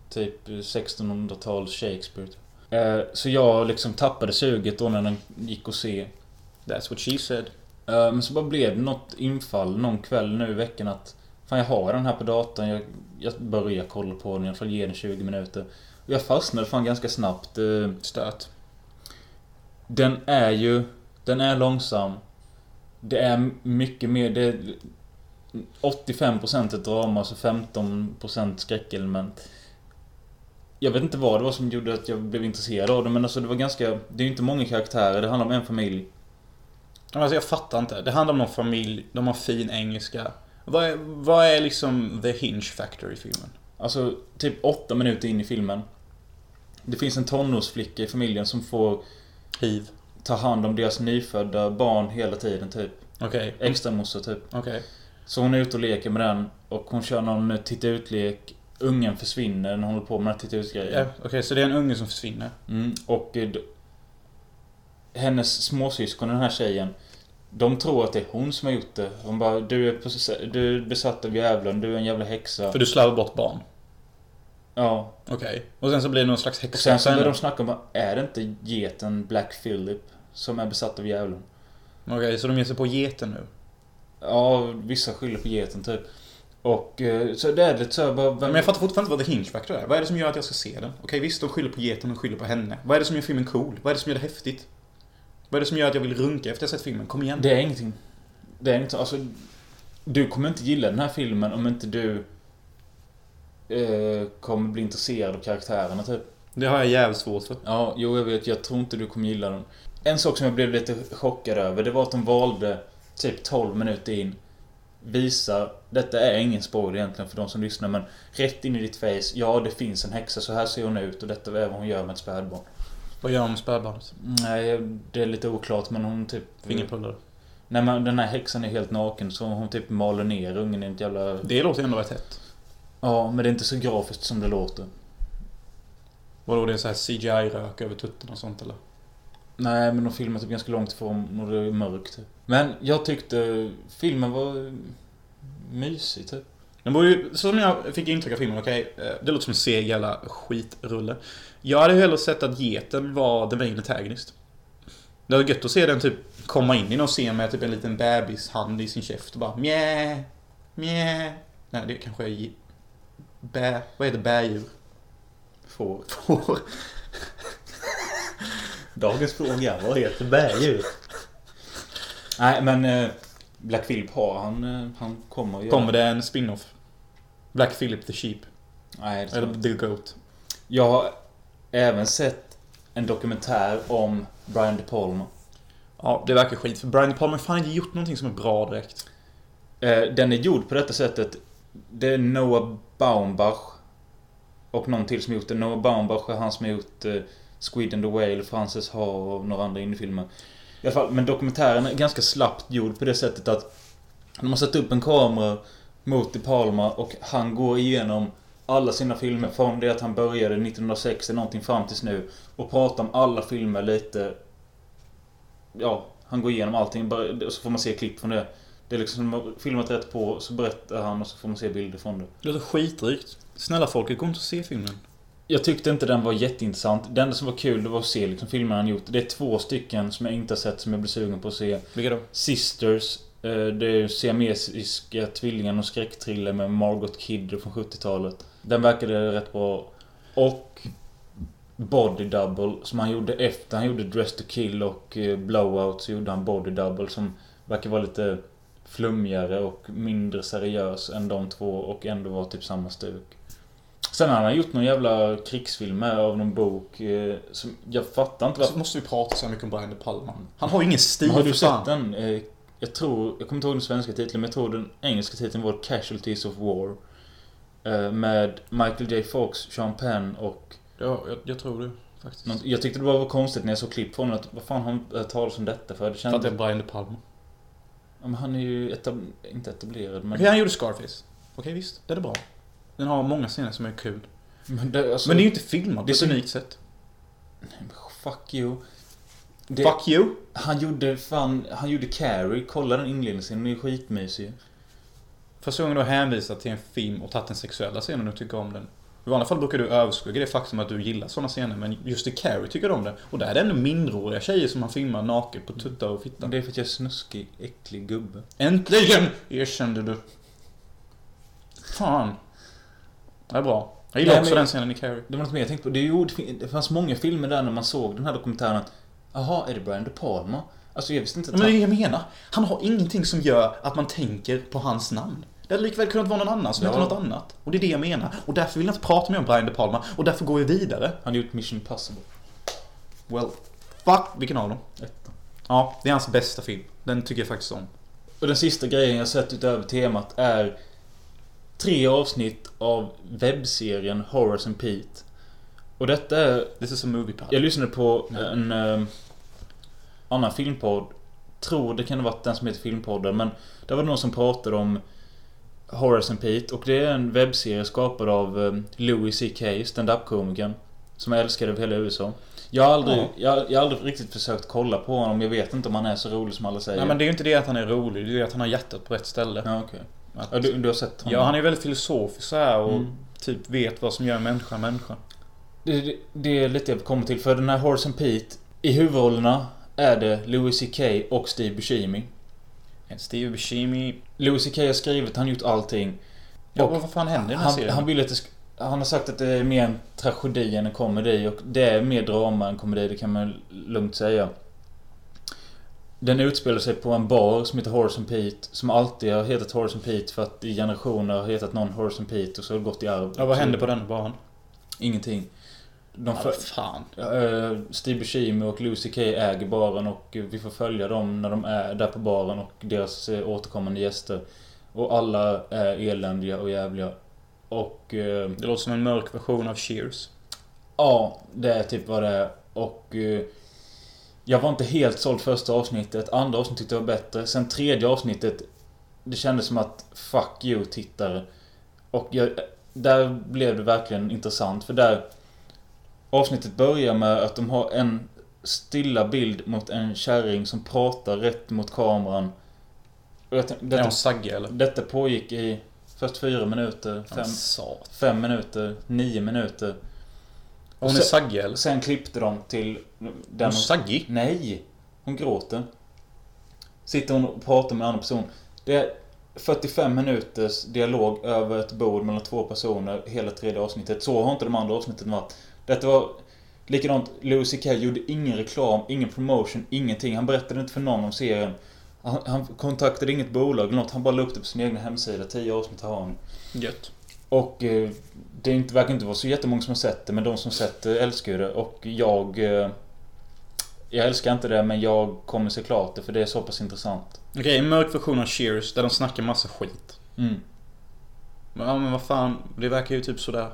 Typ 1600-tals Shakespeare. Eh, Så jag liksom tappade suget då när den gick att se.
That's what she said.
Eh, Men så bara blev det något infall någon kväll nu i veckan att Fan jag har den här på datorn, jag, jag börjar kolla på den, jag får ge den 20 minuter. Och jag fastnade fan ganska snabbt. Eh,
Stöt.
Den är ju... Den är långsam. Det är mycket mer... Det är 85% ett drama och så 15% skräckelement. Jag vet inte vad det var som gjorde att jag blev intresserad av den men alltså det var ganska... Det är ju inte många karaktärer, det handlar om en familj.
Alltså jag fattar inte. Det handlar om någon familj, de har fin engelska. Vad är, vad är liksom the hinge factor i filmen?
Alltså, typ åtta minuter in i filmen. Det finns en tonårsflicka i familjen som får
Hiv.
ta hand om deras nyfödda barn hela tiden, typ.
Okej.
Extramorsa, typ.
Okej.
Så hon är ute och leker med den och hon kör någon titta ut-lek. Ungen försvinner när hon håller på med den här titta
Ja,
ut-grejen.
Okej, så det är en unge som försvinner.
Mm, och eh, d- hennes småsyskon, den här tjejen, de tror att det är hon som har gjort det. Hon bara, du är, possess- du är besatt av djävulen, du är en jävla häxa.
För du slarvar bort barn.
Ja,
Okej. Och sen så blir det någon slags häxa.
Och sen så började de snacka om att är det inte geten Black Philip som är besatt av djävulen?
Okej, så de ger sig på geten nu.
Ja, vissa skyller på geten typ. Och eh, så det är lite såhär bara...
Men
Vem,
jag fattar fortfarande inte vad the hinge factor är. Vad är det som gör att jag ska se den? Okej, visst de skyller på geten och skyller på henne. Vad är det som gör filmen cool? Vad är det som gör det häftigt? Vad är det som gör att jag vill runka efter jag sett filmen? Kom igen.
det är ingenting. Det är ingenting. Alltså, du kommer inte gilla den här filmen om inte du eh, kommer bli intresserad av karaktärerna typ.
Det har jag jävligt svårt för.
Ja, jo jag vet. Jag tror inte du kommer gilla den. En sak som jag blev lite chockad över, det var att de valde typ 12 minuter in. Visa, detta är ingen spoiler egentligen för de som lyssnar men rätt in i ditt face. Ja, det finns en häxa, så här ser hon ut och detta är vad hon gör med ett spädbarn.
Vad gör de med spädbarnet?
Nej, det är lite oklart men hon typ...
Fingerpullar.
Nej men den här häxan är helt naken så hon typ maler ner ungen i ett jävla...
Det låter ändå rätt hett.
Ja, men det är inte så grafiskt som det låter.
Vadå, det är så här CGI-rök över tutten och sånt eller?
Nej, men de filmar typ ganska långt ifrån och det är mörkt. Typ. Men jag tyckte filmen var eh, mysig typ.
Den borde ju, så som jag fick intryck av filmen, okej, eh, det låter som en seg jävla skitrulle. Jag hade ju hellre sett att geten var the main antagonist. Det var gött att se den typ komma in i någon scen med typ en liten bebishand i sin käft och bara mjä, mjä. Nej, det kanske är ge- bä, vad heter bädjur?
Får.
Får.
Dagens fråga, vad heter bädjur? Nej, men eh, Black Philip har han. eh, Han kommer att göra-
Kommer det en spin-off? Black Philip the Sheep.
Nej, det tror jag
Eller
inte.
The Goat.
Jag har även sett en dokumentär om Brian De Palma.
Ja, det verkar skit. För Brian De Palma har fan inte gjort någonting som är bra direkt.
Eh, Den är gjord på detta sättet. Det är Noah Baumbach och någon till som gjort det. Noah Baumbach är han som har gjort eh, Squid and the Whale, Frances Ha och några andra indiefilmer. I alla fall, men dokumentären är ganska slappt gjord på det sättet att De har satt upp en kamera mot De Palma och han går igenom alla sina filmer från det att han började 1960 någonting fram tills nu. Och pratar om alla filmer lite... Ja, han går igenom allting. bara- Och så får man se klipp från det. Det är liksom de har filmat rätt på, så berättar han och så får man se bilder från det.
Det låter skitrikt. Snälla folket, gå inte och se filmen.
Jag tyckte inte den var jätteintressant. Det enda som var kul det var att se liksom, filmer han gjort. Det är två stycken som jag inte har sett som jag blir sugen på att se.
Vilka då?
Sisters. eh, Det är siamesiska tvillingar och skräckthriller med Margot Kidder från 70-talet. Den verkade rätt bra. Och Body Double som han gjorde efter han gjorde Dress to Kill och eh, Blowout så gjorde han Body Double som verkar vara lite flummigare och mindre seriös än de två och ändå var typ samma stuk. Sen har han gjort någon jävla krigsfilm med av någon bok eh, som jag fattar inte varför
Så Alltså, måste vi prata så här mycket om Brian De Palma. Han har ju ingen stil
men har du
för fan.
sett den? Eh, Jag tror, jag kommer inte ihåg den svenska titeln, men jag tror den engelska titeln var Casualties of War. Eh, Med Michael J Fox, Sean Penn och...
Ja, jag, jag tror det. Faktiskt.
någon- Jag tyckte det bara var konstigt när jag såg klipp från den, att vad fan har han hört talas om detta för? Det
För att det
kändes...
är Brian De Palma.
Ja, men han är ju etab... inte etablerad, men...
Okej, han gjorde Scarface. Okej, visst. Det är bra. Den har många scener som är kul.
Men det, alltså,
Men det är ju inte filmat
Det
på
är
ett
så-
unikt sätt.
Fuck you. Det,
Fuck you!
Han gjorde fan... Han gjorde Carrie, kolla den inledningsscenen, den är skitmysig.
Första gången du har hänvisat till en film och tagit den sexuella scenen och tycker om den. I vanliga fall brukar du överskugga det faktum att du gillar sådana scener, men just i Carrie tycker du om det. Och där är det ändå minderåriga tjejer som han filmar naken på tuttar och fitta.
Men Det är för att jag är snuskig, äcklig gubbe.
Äntligen erkände du. Fan. Det är bra. Jag gillar
Nej,
också
men-
den scenen i Carrie.
Det var något mer jag tänkte på. Det, är ju, ord- det fanns många filmer där när man såg den här dokumentären att Jaha, är det Brian De Palma? Alltså jag visste inte att
Men det är
han...
det jag menar. Han har ingenting som gör att man tänker på hans namn. Det hade likväl kunnat vara någon annan som
Ja.
heter något annat. Och det är det jag menar. Och därför vill jag inte prata mer om Brian De Palma. Och därför går vi vidare.
Han har gjort Mission Impossible.
Well, fuck vilken av dem.
Ett.
Ja, det är hans bästa film. Den tycker jag faktiskt om.
Och den sista grejen jag sett utöver temat är tre avsnitt av webbserien Horace and Pete. Och detta är
This is a movie pad.
Jag lyssnade på en eh, annan filmpodd. Tror det kan ha varit den som heter Filmpodden. Men där var det någon som pratade om Horace and Pete. Och det är en webbserie skapad av eh, Louis CK, standup-komikern. Som jag älskade över hela USA. Jag har, aldrig,
Ja.
jag, jag har aldrig riktigt försökt kolla på honom. Jag vet inte om han är så rolig som alla säger.
Nej men det är ju inte det att han är rolig, det är ju att han har hjärtat på rätt ställe.
ja, okej.
Att-
ja, du, du har sett honom?
Ja, han är väldigt filosofisk så här och
Mm.
typ vet vad som gör en människa en människa.
Det, det, det är lite jag kommer till. För den här Horace and Pete. I huvudrollerna är det Louis CK och Steve Buscemi.
Steve Buscemi.
Louis CK har skrivit, han har gjort allting.
Ja,
Och
vad fan händer i den här
Han,
serien?
han vill att det sk- Han har sagt att det är mer en tragedi än en komedi och det är mer drama än komedi, det kan man lugnt säga. Den utspelar sig på en bar som heter Horace and Pete, som alltid har hetat Horace and Pete för att i generationer har hetat någon Horace and Pete och så har det gått i arv. Typ
Ja, vad händer
Mm.
på den barn?
Ingenting. De
Ja,
för...
fan.
Eh, Steve Buscemi och Lucy K äger baren och eh, vi får följa dem när de är där på baren och deras eh, återkommande gäster. Och alla är eländiga och jävliga. Och eh,
Det låter som en mörk version av Cheers.
ja, det är typ vad det är. Och eh, jag var inte helt såld första avsnittet. Andra avsnittet tyckte jag var bättre. Sen tredje avsnittet, det kändes som att fuck you tittare. Och jag, där blev det verkligen intressant. För där Avsnittet börjar med att de har en stilla bild mot en kärring som pratar rätt mot kameran. Och jag tänkte,
Det är
detta,
hon sagge eller?
detta pågick i först fyra minuter,
Fem.
fem,
Sat.
fem minuter, nio minuter.
Hon är
sen-
sagge eller?
Sen klippte de till
Hon är
den...
saggig?
Nej! Hon gråter. Sitter hon och pratar med en annan person. Det är 45 minuters dialog över ett bord mellan två personer hela tredje avsnittet. Så har inte de andra avsnitten varit. Detta var likadant. Louis CK gjorde ingen reklam, ingen promotion, ingenting. Han berättade inte för någon om serien. Han, han kontaktade inget bolag eller något. Han bara la upp det på sin egna hemsida. 10 avsnitt har han.
Gött.
Och eh, det är inte, verkar inte vara så jättemånga som har sett det, men de som sett det älskar ju det. Och jag... eh, Jag älskar inte det, men jag kommer se klart det, för det är så pass intressant.
Okej, en mörk version av Cheers där de snackar massa skit.
Mm.
Men, ja, men vad fan, det verkar ju typ sådär.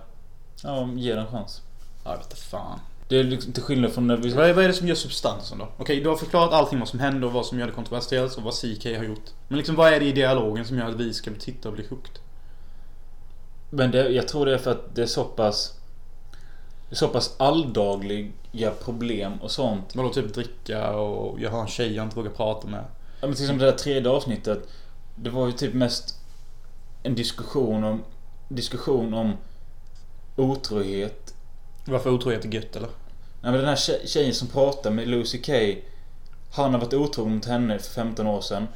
Ja, ge den en chans.
Ja, jag vet inte fan.
Det är liksom till skillnad från när vi...
Vad är, vad är det som gör substansen då? Okej, du har förklarat allting vad som hände och vad som gör det kontroversiellt och vad CK har gjort. Men liksom vad är det i dialogen som gör att vi ska titta och bli hooked?
Men det, jag tror det är för att det är så pass... Det är så pass alldagliga problem och sånt.
Vadå typ dricka och jag har en tjej jag inte vågar prata med.
Ja, men till exempel det där tredje avsnittet. Det var ju typ mest en diskussion om... Diskussion om otrohet.
Varför otrohet är gött eller?
Nej men den här tje- tjejen som pratar med Lucy Kay. Han har varit otrogen mot henne för 15 år sedan.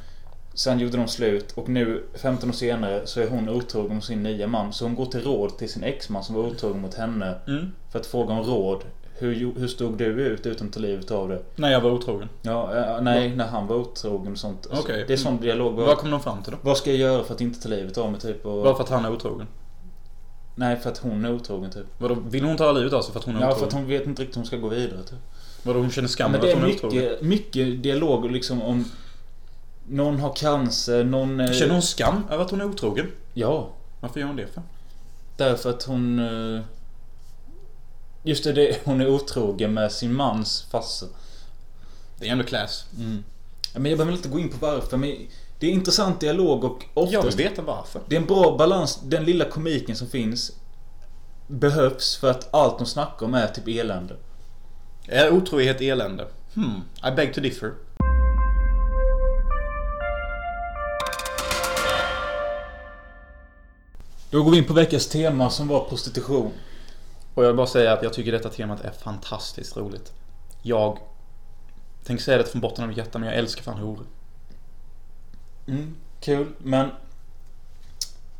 Sen gjorde de slut och nu 15 år senare så är hon otrogen mot sin nya man. Så hon går till råd till sin exman som var otrogen mot henne.
Mm.
För att fråga om råd. Hur, gjo- hur stod du ut utan att ta livet av det?
När jag var otrogen.
Ja, eh, nej, när han var otrogen och sånt. Alltså,
Okej.
Det är sån dialog.
Vad
Vad,
kom de fram till då?
vad ska jag göra för att inte ta livet av mig typ? Och,
Bara för att han är otrogen?
Nej, för att hon är otrogen typ.
Vadå, vill hon ta livet av sig för att hon är
Ja,
otrogen?
för att hon vet inte riktigt hur hon ska gå vidare typ.
Vadå, hon känner skam
men
över
det
att
är
hon är otrogen?
mycket, mycket dialog liksom om... Någon har cancer, någon... eh,
Känner hon skam över att hon är otrogen?
Ja.
Varför gör hon det för?
Därför att hon... eh, Just det, det, hon är otrogen med sin mans farsa.
Det är ändå class.
Mm. Ja, Men jag behöver inte gå in på varför, men det är intressant dialog och
Jag vill
oftast...
veta varför.
Det är en bra balans, den lilla komiken som finns behövs för att allt de snackar om är typ elände.
Är otrohet elände? Hmm, I beg to differ.
Då går vi in på veckans tema som var prostitution.
Och jag vill bara säga att jag tycker detta temat är fantastiskt roligt. Jag tänker säga det från botten av mitt hjärta, men jag älskar fan horor.
Mm, kul, men...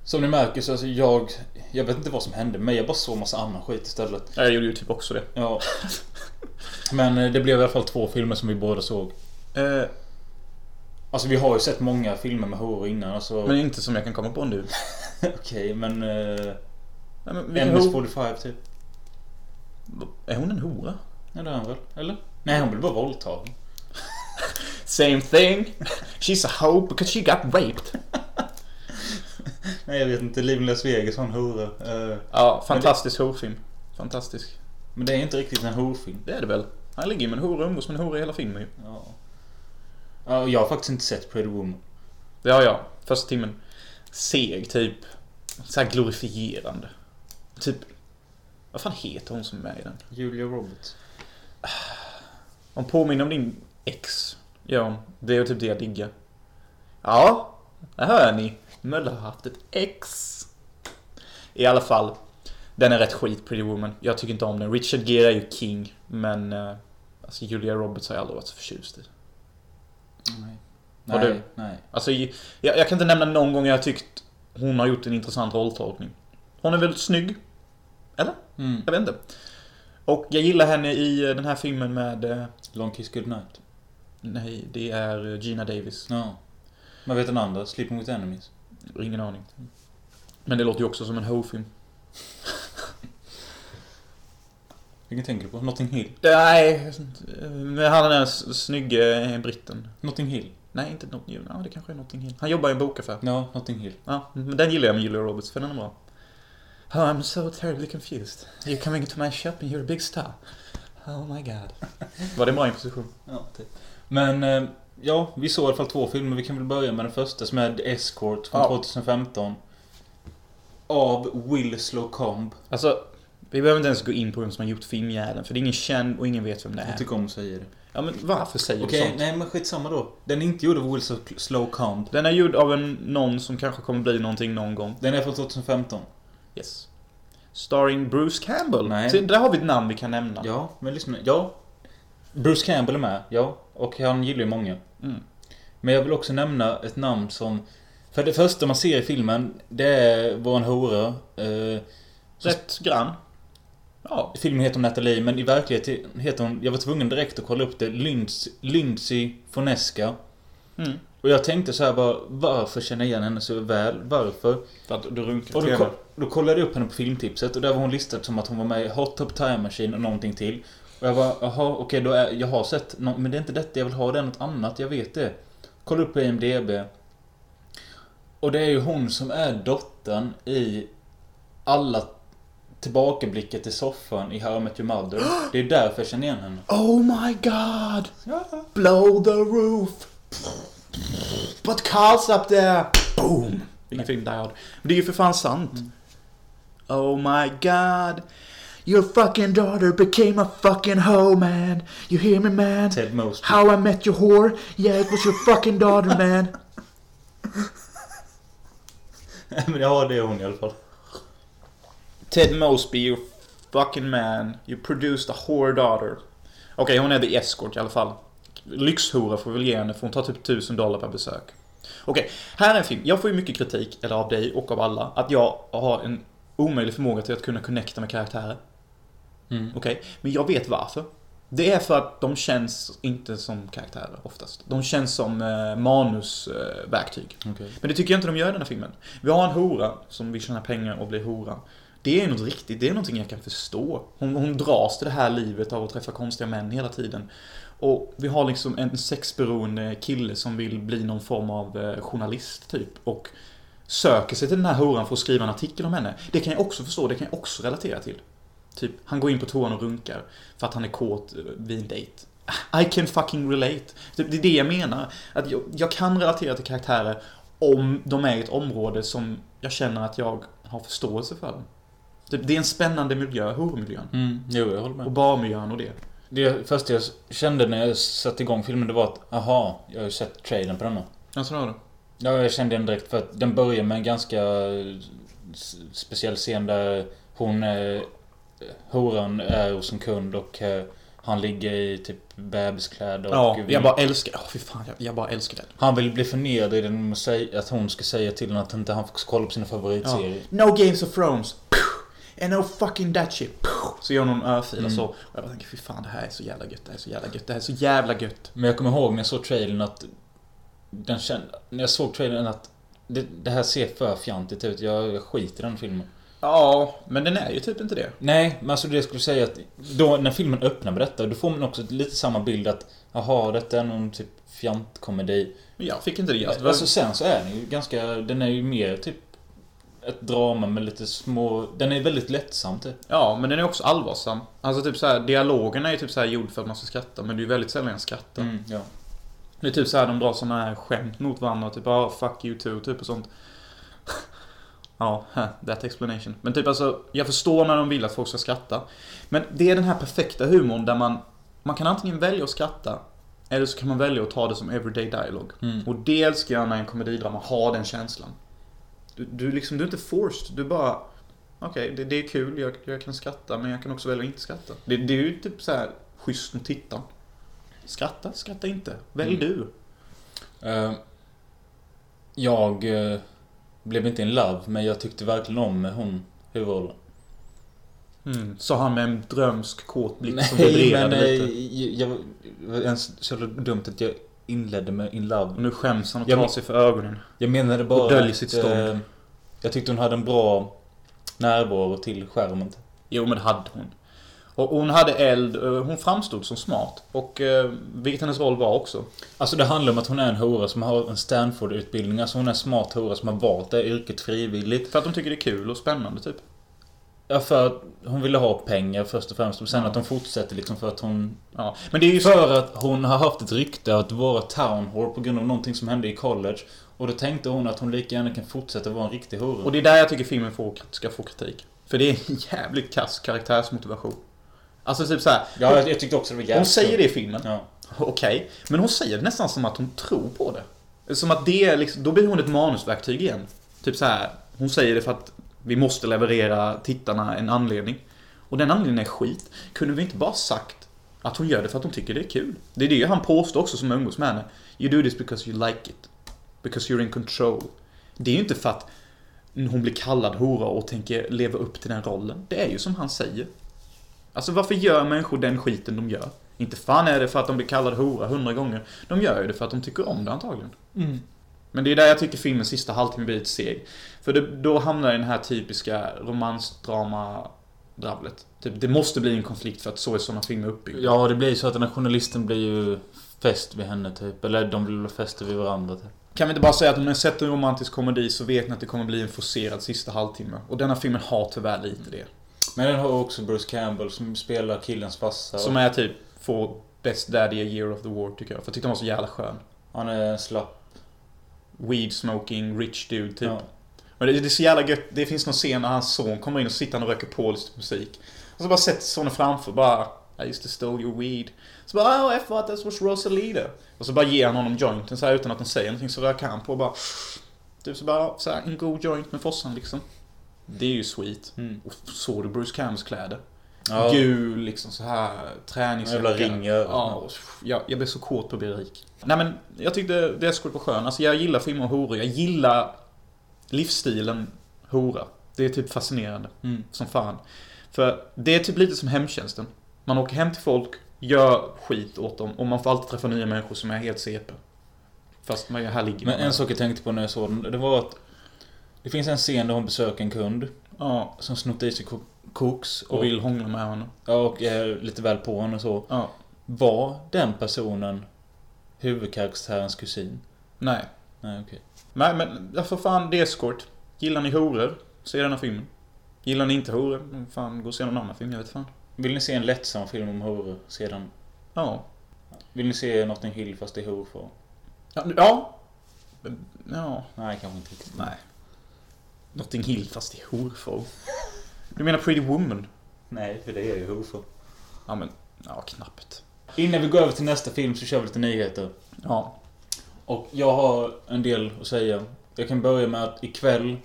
Som ni märker så alltså jag... Jag vet inte vad som hände men jag bara såg massa annan skit istället.
Ja, Jag gjorde ju typ också det.
(laughs) Ja. Men eh, det blev i alla fall två filmer som vi båda såg.
Eh,
Alltså vi har ju sett många filmer med horor innan alltså...
men inte som jag kan komma på nu.
(laughs) Okej, men... Eh,
Nej, men vilken hor-
MS-45 typ.
Är hon en hora?
Ja, det är han väl? Eller? Nej, hon blev bara våldtagen.
Same thing. She's a hoe because she got raped.
Nej jag vet inte, Liven Las Vegas var en hora. Eh,
Ja, fantastisk horfilm. Fantastisk.
men det är inte riktigt en horfilm.
Det är det väl? Han ligger med en hora och umgås med en hora i hela filmen ju.
Ja. Ja, och jag har faktiskt inte sett Pretty Woman.
Ja, ja. Första timmen. Seg, typ. Så här glorifierande. Typ... Vad fan heter hon som är med i den?
Julia Roberts.
Hon påminner om din ex. Ja, hon. det är typ det jag diggar. Ja, det hör ni. Möller har haft ett ex. I alla fall. Den är rätt skit, Pretty Woman. Jag tycker inte om den. Richard Gere är ju king, men... eh, Alltså Julia Roberts har jag aldrig varit så förtjust i.
Nej.
Har
Nej,
du?
nej.
Alltså, jag, jag kan inte nämna någon gång jag har tyckt hon har gjort en intressant rolltolkning. Hon är väldigt snygg.
Mm.
Jag vet inte. Och jag gillar henne i eh, den här filmen med... eh,
Long Kiss Goodnight.
Nej, det är eh, Gina Davis.
Ja. Man vet den andra, Sleeping With Enemies.
Ingen aning. Men det låter ju också som en ho-film.
Vilken tänker du på? Notting Hill.
Nej, eh, men han är den s- snygge eh, britten.
Notting Hill.
Nej, inte något... Ja, det kanske är någonting helt. Han jobbar i en bokaffär.
Ja, Notting Hill.
Ja, men den gillar jag med Julia Roberts, för den är bra. Oh, I'm so terribly confused. You're coming into my shop and you're a big star. Oh my god. (laughs) Var det en bra imposition?
Ja, typ. Men, eh, ja, vi såg i alla fall två filmer. Vi kan väl börja med den första som är The Escort från
Ja.
2015. Av Will Slocombe.
Alltså, vi behöver inte ens gå in på vem som har gjort filmjäveln, för det är ingen känd och ingen vet vem det
Jag
är.
tycker om att säga det.
Ja, men varför säger du
Okej,
sånt?
nej men skitsamma då. Den är inte gjord av Will Slo- Slocombe.
Den är gjord av en, någon som kanske kommer bli någonting någon gång.
Den är från 2015.
Yes. Starring Bruce Campbell.
Nej.
Se, där har vi ett namn vi kan nämna.
Ja, men lyssna. Ja. Bruce Campbell är med, ja. Och han gillar ju många.
Mm.
Men jag vill också nämna ett namn som... För det första man ser i filmen, det är vår hora. Eh,
Rätt grann. Ja.
I filmen heter hon Nathalie, men i verkligheten heter hon... Jag var tvungen direkt att kolla upp det. Linds- Lindsay Fonesca.
Mm.
Och jag tänkte så här bara, varför känner jag igen henne så väl? Varför?
För att du runkar
Och
till
då,
henne.
ko- då kollade jag upp henne på filmtipset och där var hon listad som att hon var med i Hot Top Time Machine och någonting till. Och jag bara, jaha, okej då är, jag har sett nå- men det är inte detta jag vill ha, det är något annat, jag vet det. Kolla upp på IMDB. Och det är ju hon som är dottern i alla tillbakablicket till soffan i How I Met Your (gasps) Mother. Det är därför jag känner igen henne.
Oh my god!
Ja.
Blow the roof! But Carl's up there! Boom! Vilken film Die Hard. Men det är ju för fan sant. Oh my god! Your fucking daughter became a fucking hoe man! You hear me man?
Ted Mosby.
How I met your whore? Yeah, it was your fucking daughter (laughs) man!
Men (laughs) ja, det är hon i alla fall.
Ted Mosby, you fucking man. You produced a whore daughter. Okej, hon är the escort i alla fall. Lyxhora får vi väl ge henne för hon tar typ 1000 dollar per besök. Okej, här är en film. Jag får ju mycket kritik, eller av dig och av alla, att jag har en omöjlig förmåga till att kunna connecta med karaktärer.
Mm.
Okej, men jag vet varför. Det är för att de känns inte som karaktärer oftast. De känns som eh, manusverktyg.
Okej.
Men det tycker jag inte de gör i den här filmen. Vi har en hora som vill tjäna pengar och bli hora. Det är något riktigt, det är någonting jag kan förstå. Hon, hon dras till det här livet av att träffa konstiga män hela tiden. Och vi har liksom en sexberoende kille som vill bli någon form av eh, journalist typ. Och söker sig till den här horan för att skriva en artikel om henne. Det kan jag också förstå, det kan jag också relatera till. Typ, han går in på toan och runkar för att han är kåt eh, vid en dejt. Ah, I can fucking relate. Typ, Det är det jag menar. Att jag, jag kan relatera till karaktärer om de är i ett område som jag känner att jag har förståelse för. Typ, Det är en spännande miljö, hormiljön.
Mm, jo, jag håller med.
Och barmiljön och det.
Det första jag kände när jag satte igång filmen, det var att aha, jag har ju sett trailern på denna.
Ja, så har du.
Ja, jag kände den direkt för att den börjar med en ganska eh, s- speciell scen där hon, eh, horan, är hos en kund och eh, han ligger i typ bebiskläder och
Ja, jag bara älskar... Ja, fy fan. Jag, jag bara älskar den.
han vill bli förnedrad genom att säga- att hon ska säga till honom att inte han får kolla på sina favoritserier.
No Games of Thrones. Puh. And no fucking that shit. Puh. Så gör någon örfil och så. Och jag bara tänker, fy fan det här är så jävla gött. Det här är så jävla gött. Det här är så jävla gött.
Men jag kommer ihåg när jag såg trailern att... Den kände, när jag såg trailern att det, det här ser för fjantigt ut. Jag, jag skiter i den filmen.
Ja, men den är ju typ inte det.
Nej, men alltså det jag skulle säga att då när filmen öppnar med detta, då får man också lite samma bild att jaha, detta är någon typ fjantkomedi.
Men jag fick inte det. Alltså, det var-
Alltså sen så är den ju ganska, den är ju mer typ ett drama med lite små, den är väldigt lättsam typ.
Ja, men den är också allvarsam. Alltså typ så här, dialogerna är ju typ så här gjord för att man ska skratta, men det är ju väldigt sällan jag skrattar.
Mm, ja.
Det är typ så här de drar såna här skämt mot varandra, typ ah, 'fuck you too' typ och sånt. (laughs) ja, (laughs) huh, that explanation. Men typ alltså, jag förstår när de vill att folk ska skratta. Men det är den här perfekta humorn där man, man kan antingen välja att skratta, eller så kan man välja att ta det som everyday dialog.
Mm.
Och det älskar jag när en komedidrama har den känslan. Du, du, liksom, du är inte forced, du bara... Okej, det, det är kul, jag, jag kan skratta men jag kan också välja att inte skratta. Det, det är ju typ så här schysst mot tittaren. Skratta, skratta inte. Välj
Mm.
du.
Eh, jag eh, blev inte in love, men jag tyckte verkligen om hon huvudrollen.
Mm. Sa han med en drömsk kåt blick som
Nej, men
vibrerade
eh,
lite.
jag, jag, det var ens så jävla dumt att jag inledde med in love.
Och nu skäms han och
Jag
tar
men-
sig för ögonen.
Jag menade bara
Och döljer sitt stånd.
eh, jag tyckte hon hade en bra närvaro till skärmen.
Jo, men det hade hon. Och hon hade eld, eh, hon framstod som smart. Och eh, vilket hennes roll var också.
Alltså det handlar om att hon är en hora som har en Stanford-utbildning. Alltså hon är en smart hora som har valt det yrket frivilligt.
För att de tycker det är kul och spännande typ.
Ja, för att hon ville ha pengar först och främst. Och sen
Ja.
att hon fortsätter liksom för att hon...
Ja. Men det är ju så...
För att hon har haft ett rykte att vara town whore på grund av någonting som hände i college. Och då tänkte hon att hon lika gärna kan fortsätta vara en riktig hora.
Och det är där jag tycker filmen får, ska få kritik. För det är en (laughs) jävligt kass karaktärsmotivation. Alltså typ så här.
Ja, jag, jag tyckte också det var jävligt
Hon säger
dumt.
det i filmen.
Ja.
Okej. Men hon säger det nästan som att hon tror på det. Som att det är liksom, då blir hon ett manusverktyg igen. Typ så här. Hon säger det för att vi måste leverera tittarna en anledning. Och den anledningen är skit. Kunde vi inte bara sagt att hon gör det för att hon tycker det är kul? Det är det han påstår också som umgås med henne. You do this because you like it. Because you're in control. Det är ju inte för att hon blir kallad hora och tänker leva upp till den rollen. Det är ju som han säger. Alltså varför gör människor den skiten de gör? Inte fan är det för att de blir kallade hora hundra gånger. De gör ju det för att de tycker om det antagligen.
Mm.
Men det är där jag tycker filmens sista halvtimme blir ett seg. För det, då hamnar jag i den här typiska romansdrama-dravlet. Typ, det måste bli en konflikt för att så är sådana filmer uppbyggda.
Ja, det blir ju så att den här journalisten blir ju fäst vid henne typ. Eller de blir väl fästa vid varandra typ.
Kan vi inte bara säga att om ni har sett en romantisk komedi så vet ni att det kommer bli en forcerad sista halvtimme. Och denna filmen har tyvärr lite det.
Men den har också Bruce Campbell som spelar killens farsa.
Som är typ, får Best Daddy a Year of the War tycker jag. För jag tyckte han var så jävla skön.
Han är en slapp.
Weed smoking, rich dude typ.
Ja.
Men det, det är så jävla gött. Det finns någon scen när hans son kommer in och sitter och röker på lite musik. Och så bara sätter sonen framför bara I used to stole your weed. Så bara oh, I thought this was Rosalita. Och så bara ger han honom jointen så här utan att de säger någonting så röker han på och bara Typ så bara så här, en god joint med fossan liksom. Det är ju sweet.
Mm.
Och såg du Bruce Campbells kläder?
Ja.
Gul, liksom så här träningsjacka.
Jävla ring i örat.
Ja, och pff, jag, jag blev så kåt på att bli rik. Nej men, jag tyckte Deathsquad var skön. Alltså jag gillar filmer om horor. Jag gillar livsstilen hora. Det är typ fascinerande.
Mm.
Som fan. För det är typ lite som hemtjänsten. Man åker hem till folk, gör skit åt dem och man får alltid träffa nya människor som är helt CP. Fast man, här ligger
Men
man.
en sak jag tänkte på när jag såg den, det var att det finns en scen där hon besöker en kund
Ja,
som snott i sig ko- koks och,
och vill hångla med honom.
ja, och är lite väl på henne och så.
Ja.
Var den personen huvudkaraktärens kusin?
Nej.
Nej, okej.
Nej men, ja, för fan, det är skort. Gillar ni horor, se den här filmen. Gillar ni inte horor, men fan, gå och se någon annan film, jag vet fan.
Vill ni se en lättsam film om horor sedan?
Ja.
Vill ni se Notting Hill fast det är horor?
Ja. Ja. ja.
Nej, kanske inte riktigt.
Nej. Notting Hill fast i horfrågor. Du menar Pretty Woman?
Nej, för det är ju horor.
Ja men, ja knappt.
Innan vi går över till nästa film så kör vi lite nyheter.
Ja.
Och jag har en del att säga. Jag kan börja med att ikväll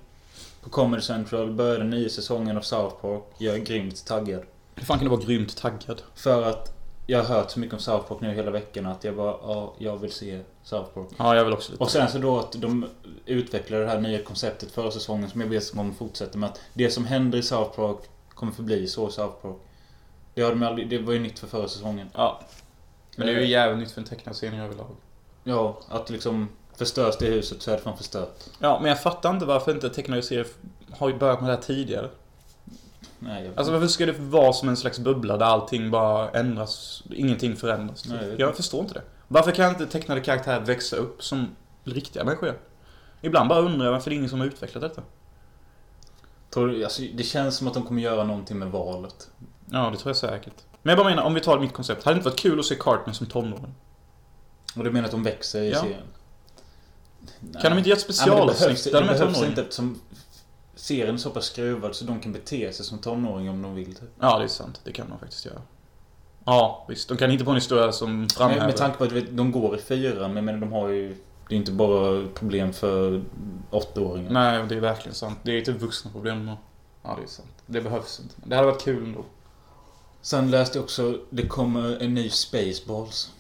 på Comedy Central börjar den nya säsongen av South Park. Jag är grymt taggad.
Hur fan kan du vara grymt taggad?
För att jag har hört så mycket om South Park nu hela veckan att jag bara, ja, jag vill se South Park.
Ja, jag vill också lite.
Och sen så då att de utvecklade det här nya konceptet förra säsongen som jag vet som kommer fortsätta med att det som händer i South Park kommer förbli så i South Park. Det, har de aldrig, det var ju nytt för förra säsongen.
Ja. Men det är ju jävligt nytt för en tecknad scen överlag.
Ja, att liksom förstörs det huset så är det fan förstört.
Ja, men jag fattar inte varför inte tecknade serier har ju börjat med det här tidigare.
Nej, jag...
Alltså varför ska det vara som en slags bubbla där allting bara ändras, ingenting förändras?
Nej, jag vet
jag
inte.
förstår inte det. Varför kan inte tecknade karaktärer växa upp som riktiga människor gör? Ibland bara undrar jag varför det är ingen som har utvecklat detta.
Tror du, alltså, det känns som att de kommer göra någonting med valet.
Ja, det tror jag säkert. Men jag bara menar, om vi tar mitt koncept. Hade det inte varit kul att se Cartman som tonåring?
Och du menar att de växer i
Ja.
serien? Nej.
Kan de inte göra ett
Ja, men det behövs,
specialavsnitt
det
där de är
behövs
tonåringar?
inte eftersom serien är så pass skruvad så de kan bete sig som tonåringar om de vill. typ.
Ja, det är sant. Det kan de faktiskt göra. Ja, visst. De kan inte på en historia som
Men
framhäver...
med tanke på att du vet, de går i fyran, men jag menar, de har ju... Det är inte bara problem för åttaåringar.
Nej, det är verkligen sant. Det är typ vuxna problem. och- Ja, det är sant. Det behövs inte. Men Det hade varit kul ändå.
Sen läste jag också, det kommer en ny Spaceballs.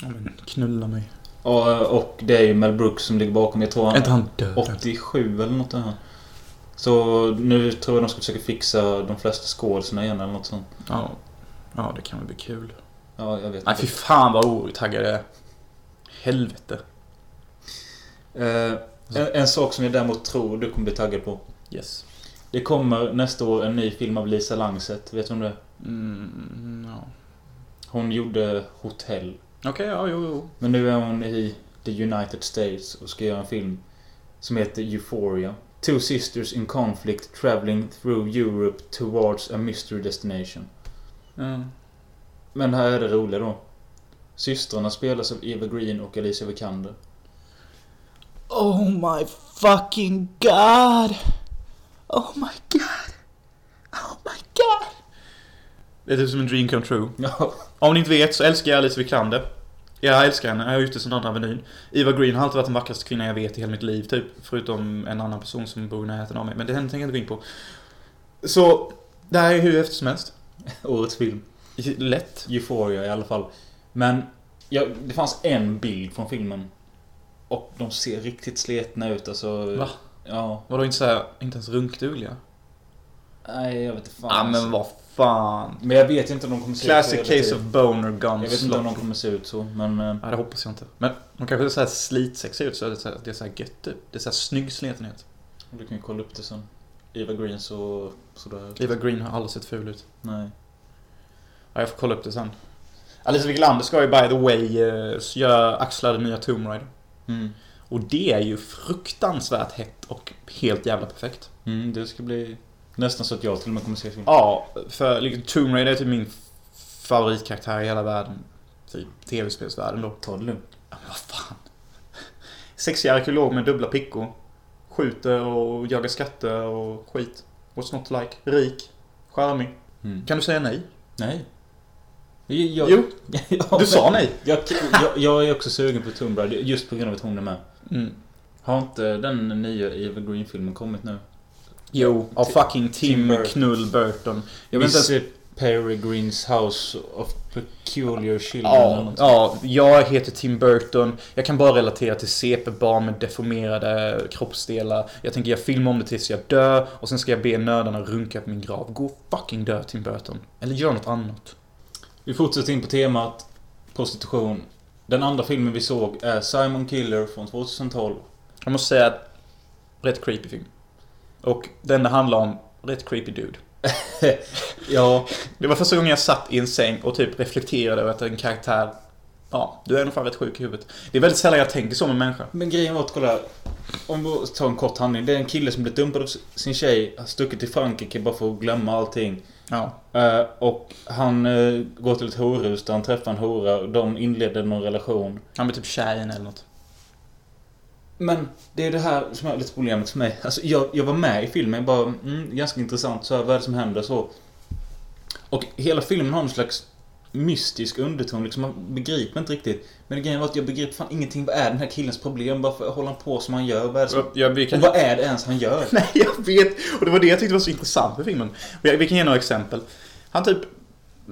Ja, men knulla mig.
Och, och det är ju Mel Brooks som ligger bakom. Jag tror
Är
han...
inte han död?
87 eller något där. Så nu tror jag de ska försöka fixa de flesta skådisarna igen eller något sånt.
Ja. ja, det kan väl bli kul.
Ja, jag vet
Nej, fy
inte.
fan vad otaggad jag är. Helvete.
Eh, en, en sak som jag däremot tror du kommer bli taggad på.
Yes.
Det kommer nästa år en ny film av Lisa Langset. Vet du om det är?
Mm, ja.
Hon gjorde Hotell.
Okej, ja, jo, jo.
Men nu är hon i The United States och ska göra en film som heter Euphoria. Two sisters in conflict traveling through Europe towards a mystery destination.
Mm.
Men här är det roliga då. Systrarna spelas av Eva Green och Alicia Vikander.
Oh my fucking god! Oh my god! Oh my god! Det är typ som en dream come true.
Ja.
Om ni inte vet så älskar jag Alice Vikander. Jag älskar henne, jag har gjort det sedan andra menyn. Eva Green har alltid varit den vackraste kvinnan jag vet i hela mitt liv, typ. Förutom en annan person som bor i närheten av mig. Men det henne tänker jag inte gå in på. Så, det här är hur häftigt som helst.
(laughs) Årets film.
Lätt.
Euphoria i alla fall. Men ja, det fanns en bild från filmen. Och de ser riktigt sletna ut alltså.
Va?
Ja.
Vadå inte såhär, inte ens runkdugliga?
Nej, jag vet inte fan.
Ja ah, men vad fan.
Men jag vet inte om de kommer se ut
Classic
så. hela
case of
tiden.
boner
Jag
guns.
vet inte om de kommer se ut så, men... eh,
Ja, det hoppas jag inte. Men de kanske så här slitsexiga ut så är det så här, det är så här gött typ. Det är så här snygg sletenhet.
Du kan ju kolla upp det sen. Eva Green så... Sådär.
Eva Green har aldrig sett ful ut.
Nej.
Ja, jag får kolla upp det sen. Alice Wiglander ska ju by the way eh, göra axla den nya Tomb Raider.
Mm.
Och det är ju fruktansvärt hett och helt jävla perfekt.
Mm, det ska bli Nästan så att jag till och med kommer se filmen.
Ja, för liksom, Tomb Raider är typ min favoritkaraktär i hela världen. Typ tv-spelsvärlden då.
Ta det lugnt.
Ja, men vad fan. Sexig arkeolog med dubbla pickor. Skjuter och jagar skatter och skit. What's not to like? Rik. Charmig.
Mm.
Kan du säga nej?
Nej. Jag, (laughs)
Jo,
Ja,
du
men-
sa nej.
Jag, jag, jag är också sugen på Tomb Raider just på grund av att hon är med.
Mm.
Har inte den nya Eva Green-filmen kommit nu?
Jo, av
Ti-
fucking Tim,
Tim Burton.
Knull Burton. Jag
Jag
vet inte ens...
Miss Peregrines House of Peculiar Children eller
Ja,
något.
ja, jag heter Tim Burton. Jag kan bara relatera till CP-barn med deformerade kroppsdelar. Jag tänker jag filmar om det tills jag dör och sen ska jag be nördarna runka på min grav. Gå och fucking dö Tim Burton. Eller gör något annat.
Vi fortsätter in på temat prostitution. Den andra filmen vi såg är Simon Killer från 2012.
Jag måste säga att... Rätt creepy film. Och den det handlar om, rätt creepy dude.
(laughs) Ja,
Det var första gången jag satt i en säng och typ reflekterade över att en karaktär... Ja, du är nog fan rätt sjuk i huvudet. Det är väldigt sällan jag tänker så om en människa.
men grejen var att kolla. Om vi tar en kort handling. Det är en kille som blivit dumpad av sin tjej, har stuckit till Frankrike bara för att glömma allting.
Ja.
Eh, och han eh, går till ett horhus där han träffar en hora och de inleder någon relation.
Han blir typ kär i en eller något.
Men det är det här som är lite problemet för mig. Alltså, jag, jag var med i filmen, bara mm, ganska intressant så här, vad är det som händer så. Och hela filmen har en slags mystisk underton, liksom man begriper inte riktigt. Men grejen var att jag begriper fan ingenting. Vad är den här killens problem? Varför håller han på som han gör? Vad är det som...
Jag, vi kan...
Och vad är det ens han gör?
(laughs) Nej, jag vet. Och det var det jag tyckte var så intressant med filmen. Och jag- Vi kan ge några exempel. Han typ...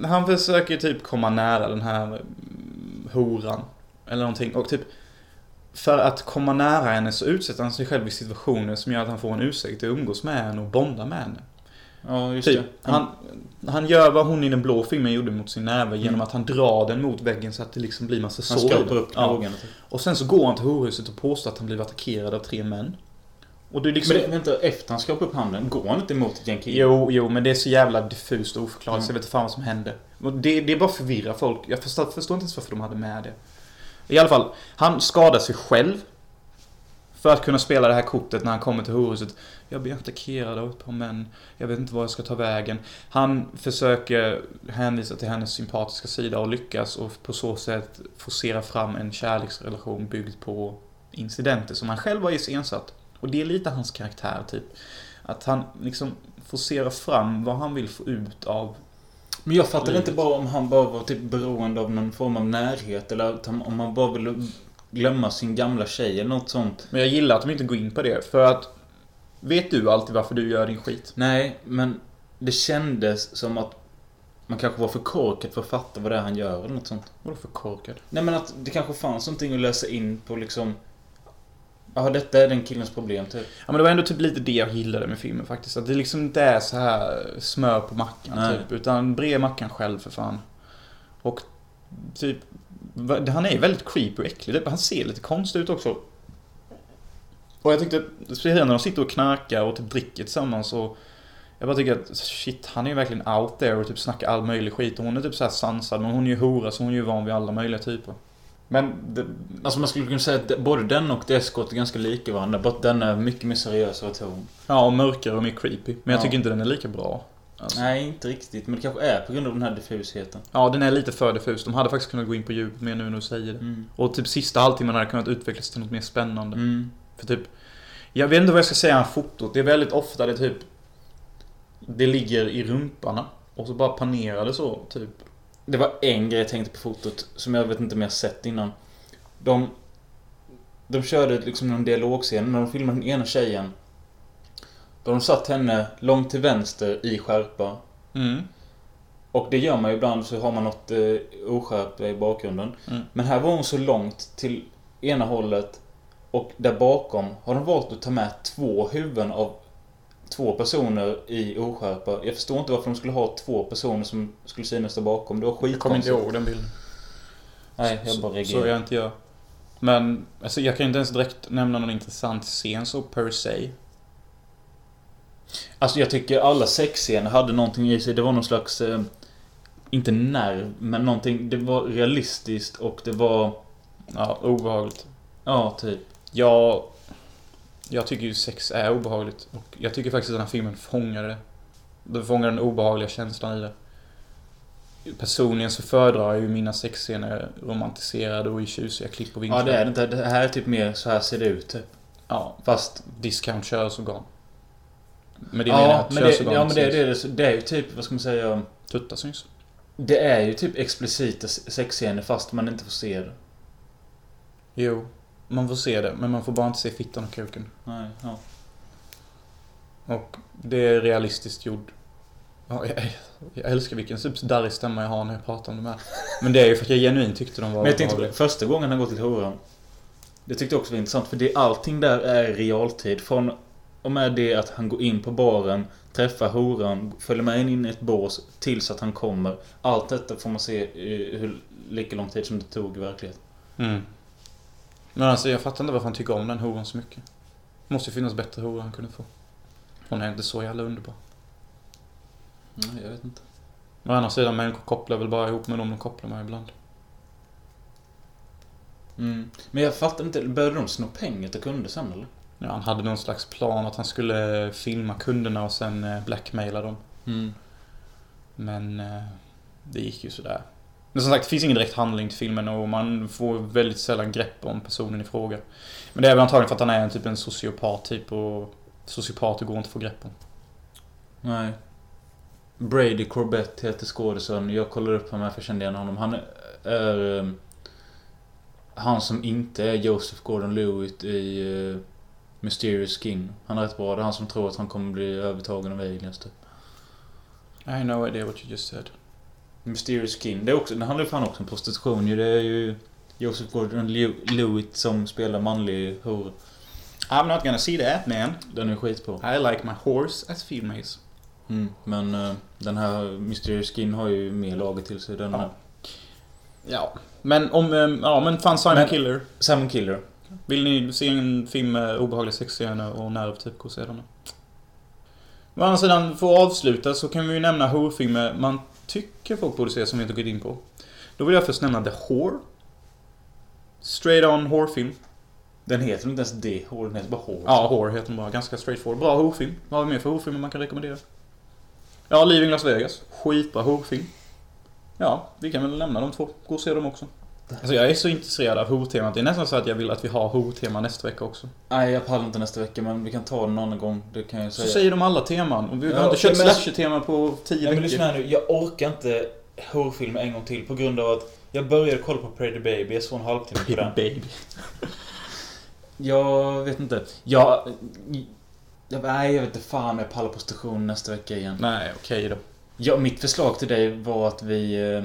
Han försöker typ komma nära den här mm, horan. Eller någonting. Och typ... För att komma nära henne så utsätter han sig själv i situationer som gör att han får en ursäkt att umgås med henne och bonda med henne.
Ja, just
Typ,
det.
han, han gör vad hon i den blå filmen gjorde mot sin näve genom
Mm.
att han drar den mot väggen så att det liksom blir massa
han
sår. i
skrapar
den.
upp
ja.
knogarna. typ.
Och sen så går han till horhuset och påstår att han blivit attackerad av tre män. Och det är liksom...
Men det, vänta, efter han skrapar upp handen, går han inte emot ett gäng killar?
Jo, jo, men det är så jävla diffust och oförklarligt så jag
Mm.
vet inte fan vad som hände. Och Det, det är bara förvirrar folk. Jag förstår, förstår inte ens varför de hade med det. I alla fall, han skadar sig själv. För att kunna spela det här kortet när han kommer till horhuset. Jag blir attackerad av ett par män. Jag vet inte var jag ska ta vägen. Han försöker hänvisa till hennes sympatiska sida och lyckas och på så sätt forcera fram en kärleksrelation byggd på incidenter som han själv har iscensatt. Och det är lite hans karaktär, typ. Att han liksom forcerar fram vad han vill få ut av...
Men jag fattade
Livet.
inte bara om han bara var typ beroende av någon form av närhet eller att han, om han bara ville glömma sin gamla tjej eller något sånt.
Men jag gillar att de inte går in på det, för att... Vet du alltid varför du gör din skit?
Nej, men det kändes som att man kanske var för korkad för att fatta vad det är han gör eller något sånt.
Vadå för korkad?
Nej men att det kanske fanns någonting att läsa in på liksom... Ja, detta är den killens problem typ.
Ja men det var ändå typ lite det jag gillade med filmen faktiskt. Att det liksom inte är så här smör på mackan
Nej.
typ. Utan bre mackan själv för fan. Och typ... va- Han är ju väldigt creepy och äcklig. Typ. Han ser lite konstig ut också. Och jag tyckte, speciellt när de sitter och knarkar och typ dricker tillsammans och... Jag bara tycker att shit, han är ju verkligen out there och typ snackar all möjlig skit. Och hon är typ så här sansad, men hon är ju hora så hon är ju van vid alla möjliga typer. Men det,
Alltså man skulle kunna säga att både den och Deskot är ganska lika varandra. Bara att den är mycket mer seriös och ton.
Ja, och mörkare och mer creepy. Men jag
Ja.
tycker inte den är lika bra. Alltså.
Nej, inte riktigt. Men det kanske är på grund av den här diffusheten.
Ja, den är lite för diffus. De hade faktiskt kunnat gå in på djupet mer nu när du säger det.
Mm.
Och typ sista halvtimmen hade kunnat utvecklas till något mer spännande.
Mm.
För typ... Jag vet inte vad jag ska säga om fotot. Det är väldigt ofta det typ... Det ligger i rumparna. Och så bara panerar det så, typ.
Det var en grej jag tänkte på fotot som jag vet inte om jag sett innan. De... De körde liksom någon dialogscen när de filmade den ena tjejen. Då de satt henne långt till vänster i skärpa.
Mm.
Och det gör man ju ibland så har man något eh, oskärpa i bakgrunden.
Mm.
Men här var hon så långt till ena hållet och där bakom har de valt att ta med två huvuden av två personer i oskärpa. Jag förstår inte varför de skulle ha två personer som skulle synas där bakom. Det var
Jag kommer inte
skitkonstigt.
ihåg den bilden.
Nej, jag
Så-
bara
Så
reagerar.
jag inte gör. Men, alltså jag kan inte ens direkt nämna någon intressant scen så per se.
Alltså jag tycker alla sexscener hade någonting i sig. Det var någon slags... Eh, inte nerv, men någonting. Det var realistiskt och det var...
Ja, obehagligt.
Ja, typ.
Jag, jag tycker ju sex är obehagligt. Och jag tycker faktiskt att den här filmen fångade det. Du fångar den obehagliga känslan i det. Personligen så föredrar jag ju mina sexscener romantiserade och i tjusiga klipp och vinklar.
Ja, det är det inte. Det här är typ mer så här ser det ut. Typ.
Ja,
Fast...
discount könsorgan. Men det menar jag
Ja
att
men, det,
könsorgan
ja, men det,
syns.
det, är det, det är ju typ, vad ska man säga?
Tuttar syns.
Det är ju typ explicita sexscener fast man inte får se det.
Jo, man får se det, men man får bara inte se fittan och kuken.
Nej, ja.
Och det är realistiskt gjord. Ja, jag, jag älskar vilken typ darrig stämma jag har när jag pratar om de här. Men det är ju för att jag genuint tyckte de var
Men jag tänkte på
obehagliga.
det. Första gången han går till horan. Det tyckte jag också var intressant för det, allting där är i realtid. Från och med det att han går in på baren, träffar horan, följer med in in i ett bås tills att han kommer. Allt detta får man se eh, hur lika lång tid som det tog i verkligheten.
Mm. Men alltså jag fattar inte varför han tycker om den horan så mycket. Måste ju finnas bättre horor han kunde få. Hon är inte så jävla underbar.
Nej, Mm, jag vet inte.
Men å andra sidan, människor kopplar väl bara ihop med dem de kopplar med ibland.
Mm. Men jag fattar inte, började de sno pengar till kunder sen eller?
Ja, han hade någon slags plan att han skulle filma kunderna och sen eh, blackmaila dem.
Mm.
Men eh, det gick ju sådär. Men som sagt, det finns ingen direkt handling till filmen och man får väldigt sällan grepp om personen i fråga. Men det är väl antagligen för att han är en typ en sociopat typ och sociopater går inte att få grepp om.
Nej. Brady Corbett heter skådisen. Jag kollade upp honom här för jag kände igen honom. Han är... eh, Han som inte är Joseph Gordon-Lewitt i eh, Mysterious King. Han är rätt bra. Det är han som tror att han kommer bli övertagen av aliens typ.
I know idea what you just said.
Mysterious King. Det, är också, det handlar ju fan också om prostitution ju. Det är ju Joseph Gordon-Lewitt som spelar manlig hor.
I'm not gonna see that man.
Den är skitbra.
I like my horse as females.
Mm, men eh, den här Mysterious King har ju mer lager till sig. Den
Ja.
här.
Ja. Men om, eh, ja men fan Simon
Men-
Killer.
Simon Killer.
Vill ni se en film med obehagliga sexscener och nerv typ, gå och se den. Å andra sidan, för att avsluta så kan vi ju nämna horfilmer man tycker folk borde se som vi inte gått in på. Då vill jag först nämna The Whore. Straight on horrorfilm.
Den heter inte ens det hålet, den heter bara hål.
Ja, Whore heter den bara. Ganska straight forward. Bra horrorfilm. Vad har vi mer för horrorfilmer man kan rekommendera? Ja, Leaving Las Vegas. Skitbra horrorfilm. Ja, vi kan väl nämna de två. Gå och se dem också. Alltså jag är så intresserad av horrortemat. Det är nästan så att jag vill att vi har horrortema nästa vecka också.
Nej, jag pallar inte nästa vecka men vi kan ta den någon annan gång. Det kan jag
Så
säga.
säger de alla teman. Och vi har
Ja,
inte kört
men-
slasher-tema på tio
Nej, men
veckor.
lyssna här nu. Jag orkar inte horrorfilm en gång till på grund av att jag började kolla på Pray the Baby. Jag såg en halvtimme på den.
Baby.
Jag vet inte. Jag... jag nej, jag vet inte fan om jag pallar prostitution nästa vecka igen.
Nej, okej då.
Ja, mitt förslag till dig var att vi... eh,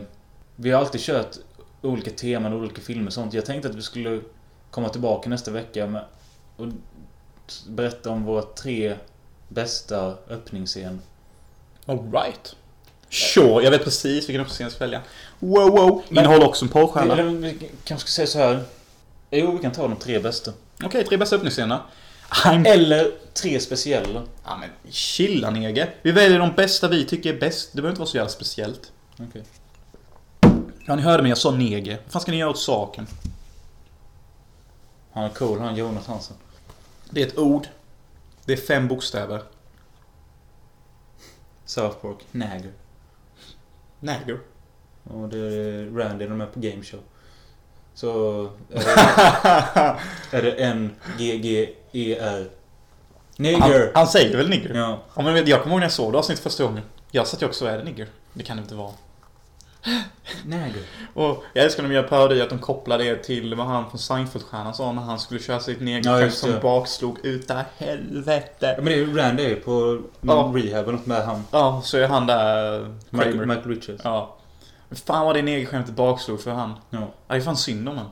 Vi har alltid kört olika teman och olika filmer och sånt. Jag tänkte att vi skulle komma tillbaka nästa vecka med, och berätta om våra tre bästa öppningsscener.
Alright. Sure, jag vet precis vilken uppsats jag ska välja. Wow, wow. Innehåller också en porrstjärna.
Eller vi kanske ska säga så här. Jo, vi kan ta de tre bästa.
Okej, tre bästa öppningsscener. I'm...
Eller tre speciella.
Ja, men chilla Nege. Vi väljer de bästa vi tycker är bäst. Det behöver inte vara så jävla speciellt.
Okej.
Ja, ni hörde mig. Jag sa Nege. Vad fan ska ni göra åt saken?
Han är cool, han Jonas Hansen.
Det är ett ord. Det är fem bokstäver.
South Park. Nagger.
Nagger.
Och det är Randy de är på Game Show. Så... Är det, är det en g g e r
Han,
Nigger!
han säger väl nigger?
Ja.
Ja, men vet du, jag kommer ihåg när jag såg det avsnittet första gången. Jag satt ju också är det nigger. Det kan det inte vara.
Nagger.
Och jag älskar när de gör parodi att de kopplar det till vad han från Seinfeld-stjärnan sa när han skulle köra sitt
Ja,
negerskämt
just
som
det.
bakslog utav helvete.
Ja, men det är ju Randy är ju på
Ja.
någon rehab eller något med han.
Ja, så är han där...
Michael,
Kramer.
Michael Richards.
Ja. Men Fan vad det negerskämtet bakslog för han.
Ja.
Ja, det är fan synd om han.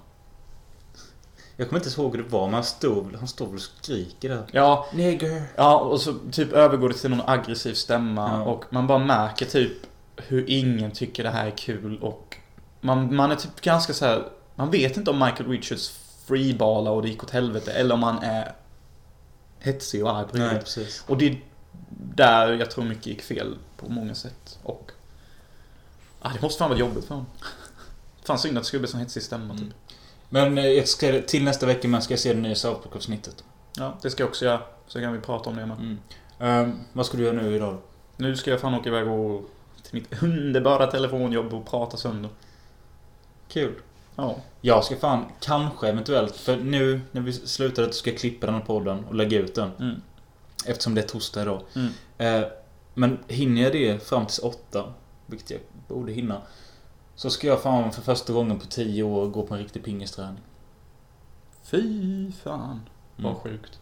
Jag kommer inte ens ihåg hur det var, men han står väl- han står väl och skriker där.
Ja,
Nigger.
ja, och så typ övergår det till någon aggressiv stämma
Ja.
och man bara märker typ hur ingen tycker det här är kul och man, man är typ ganska så här. Man vet inte om Michael Richards freeballar och det gick åt helvete eller om han är hetsig och arg på
Nej,
riktigt.
precis.
Och det är där jag tror mycket gick fel på många sätt. Och... Ah, det måste fan vara jobbigt för honom. Fan synd att det skulle bli sån hetsig stämma typ.
Mm. Men eh, jag ska, till nästa vecka men ska jag se det nya South Park-avsnittet.
Ja, det ska jag också göra. Så kan vi prata om det med.
Mm. Ehm, vad ska du göra nu idag då?
Nu ska jag fan åka iväg och till mitt underbara telefonjobb och prata sönder.
Kul.
Ja.
Jag ska fan, kanske eventuellt, för nu när vi slutar att ska jag klippa den här podden och lägga ut den.
Mm.
Eftersom det är torsdag idag.
Mm.
Eh, men hinner jag det fram tills åtta, vilket jag borde hinna. Så ska jag fan för första gången på tio år gå på en riktig pingisträning.
Fy fan. Vad
Mm.
sjukt.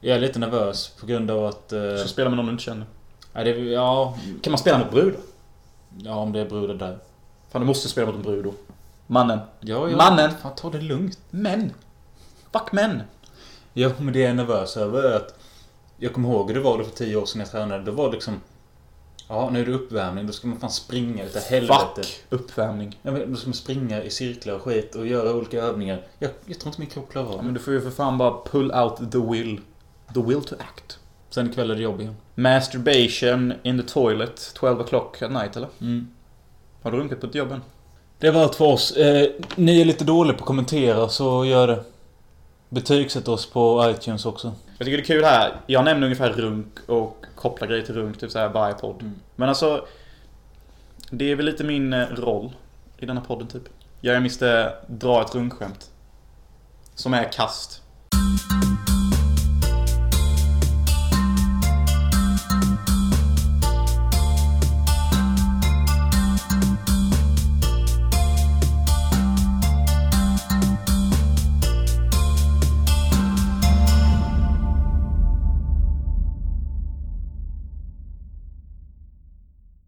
Jag är lite nervös på grund av att... Eh,
Du ska spela med någon du inte känner.
nej, det, är- ja,
Kan man spela mot brudar?
ja, om det är brudar där.
Fan, du måste spela mot en brud då. Mannen.
Ja, ja,
Mannen!
Fan, ta det lugnt.
Män! Fuck män!
Ja, men det jag är nervös över är att... Jag kommer ihåg hur det var då för tio år sedan jag tränade. Då var det liksom... Ja, nu är det uppvärmning. Då ska man fan springa utav helvete.
Fuck uppvärmning.
Ja, men då ska man springa i cirklar och skit och göra olika övningar. Jag, jag tror inte min kropp klarar
Ja,
av
men
det.
du får ju för fan bara pull out the will. The will to act.
Sen ikväll är det jobb igen.
Masturbation in the toilet 12 o'clock at night eller?
Mm.
Har du runkat på ett jobb än?
Det var allt för oss. Eh, ni är lite dåliga på att kommentera, så gör det. Betygsätt oss på iTunes också.
Jag tycker det är kul här. Jag nämner ungefär runk och kopplar grejer till runk, typ såhär by podd.
Mm.
Men alltså. Det är väl lite min eh, roll i denna podden typ. Jag är Mr. Dra ett runkskämt. Som är kast.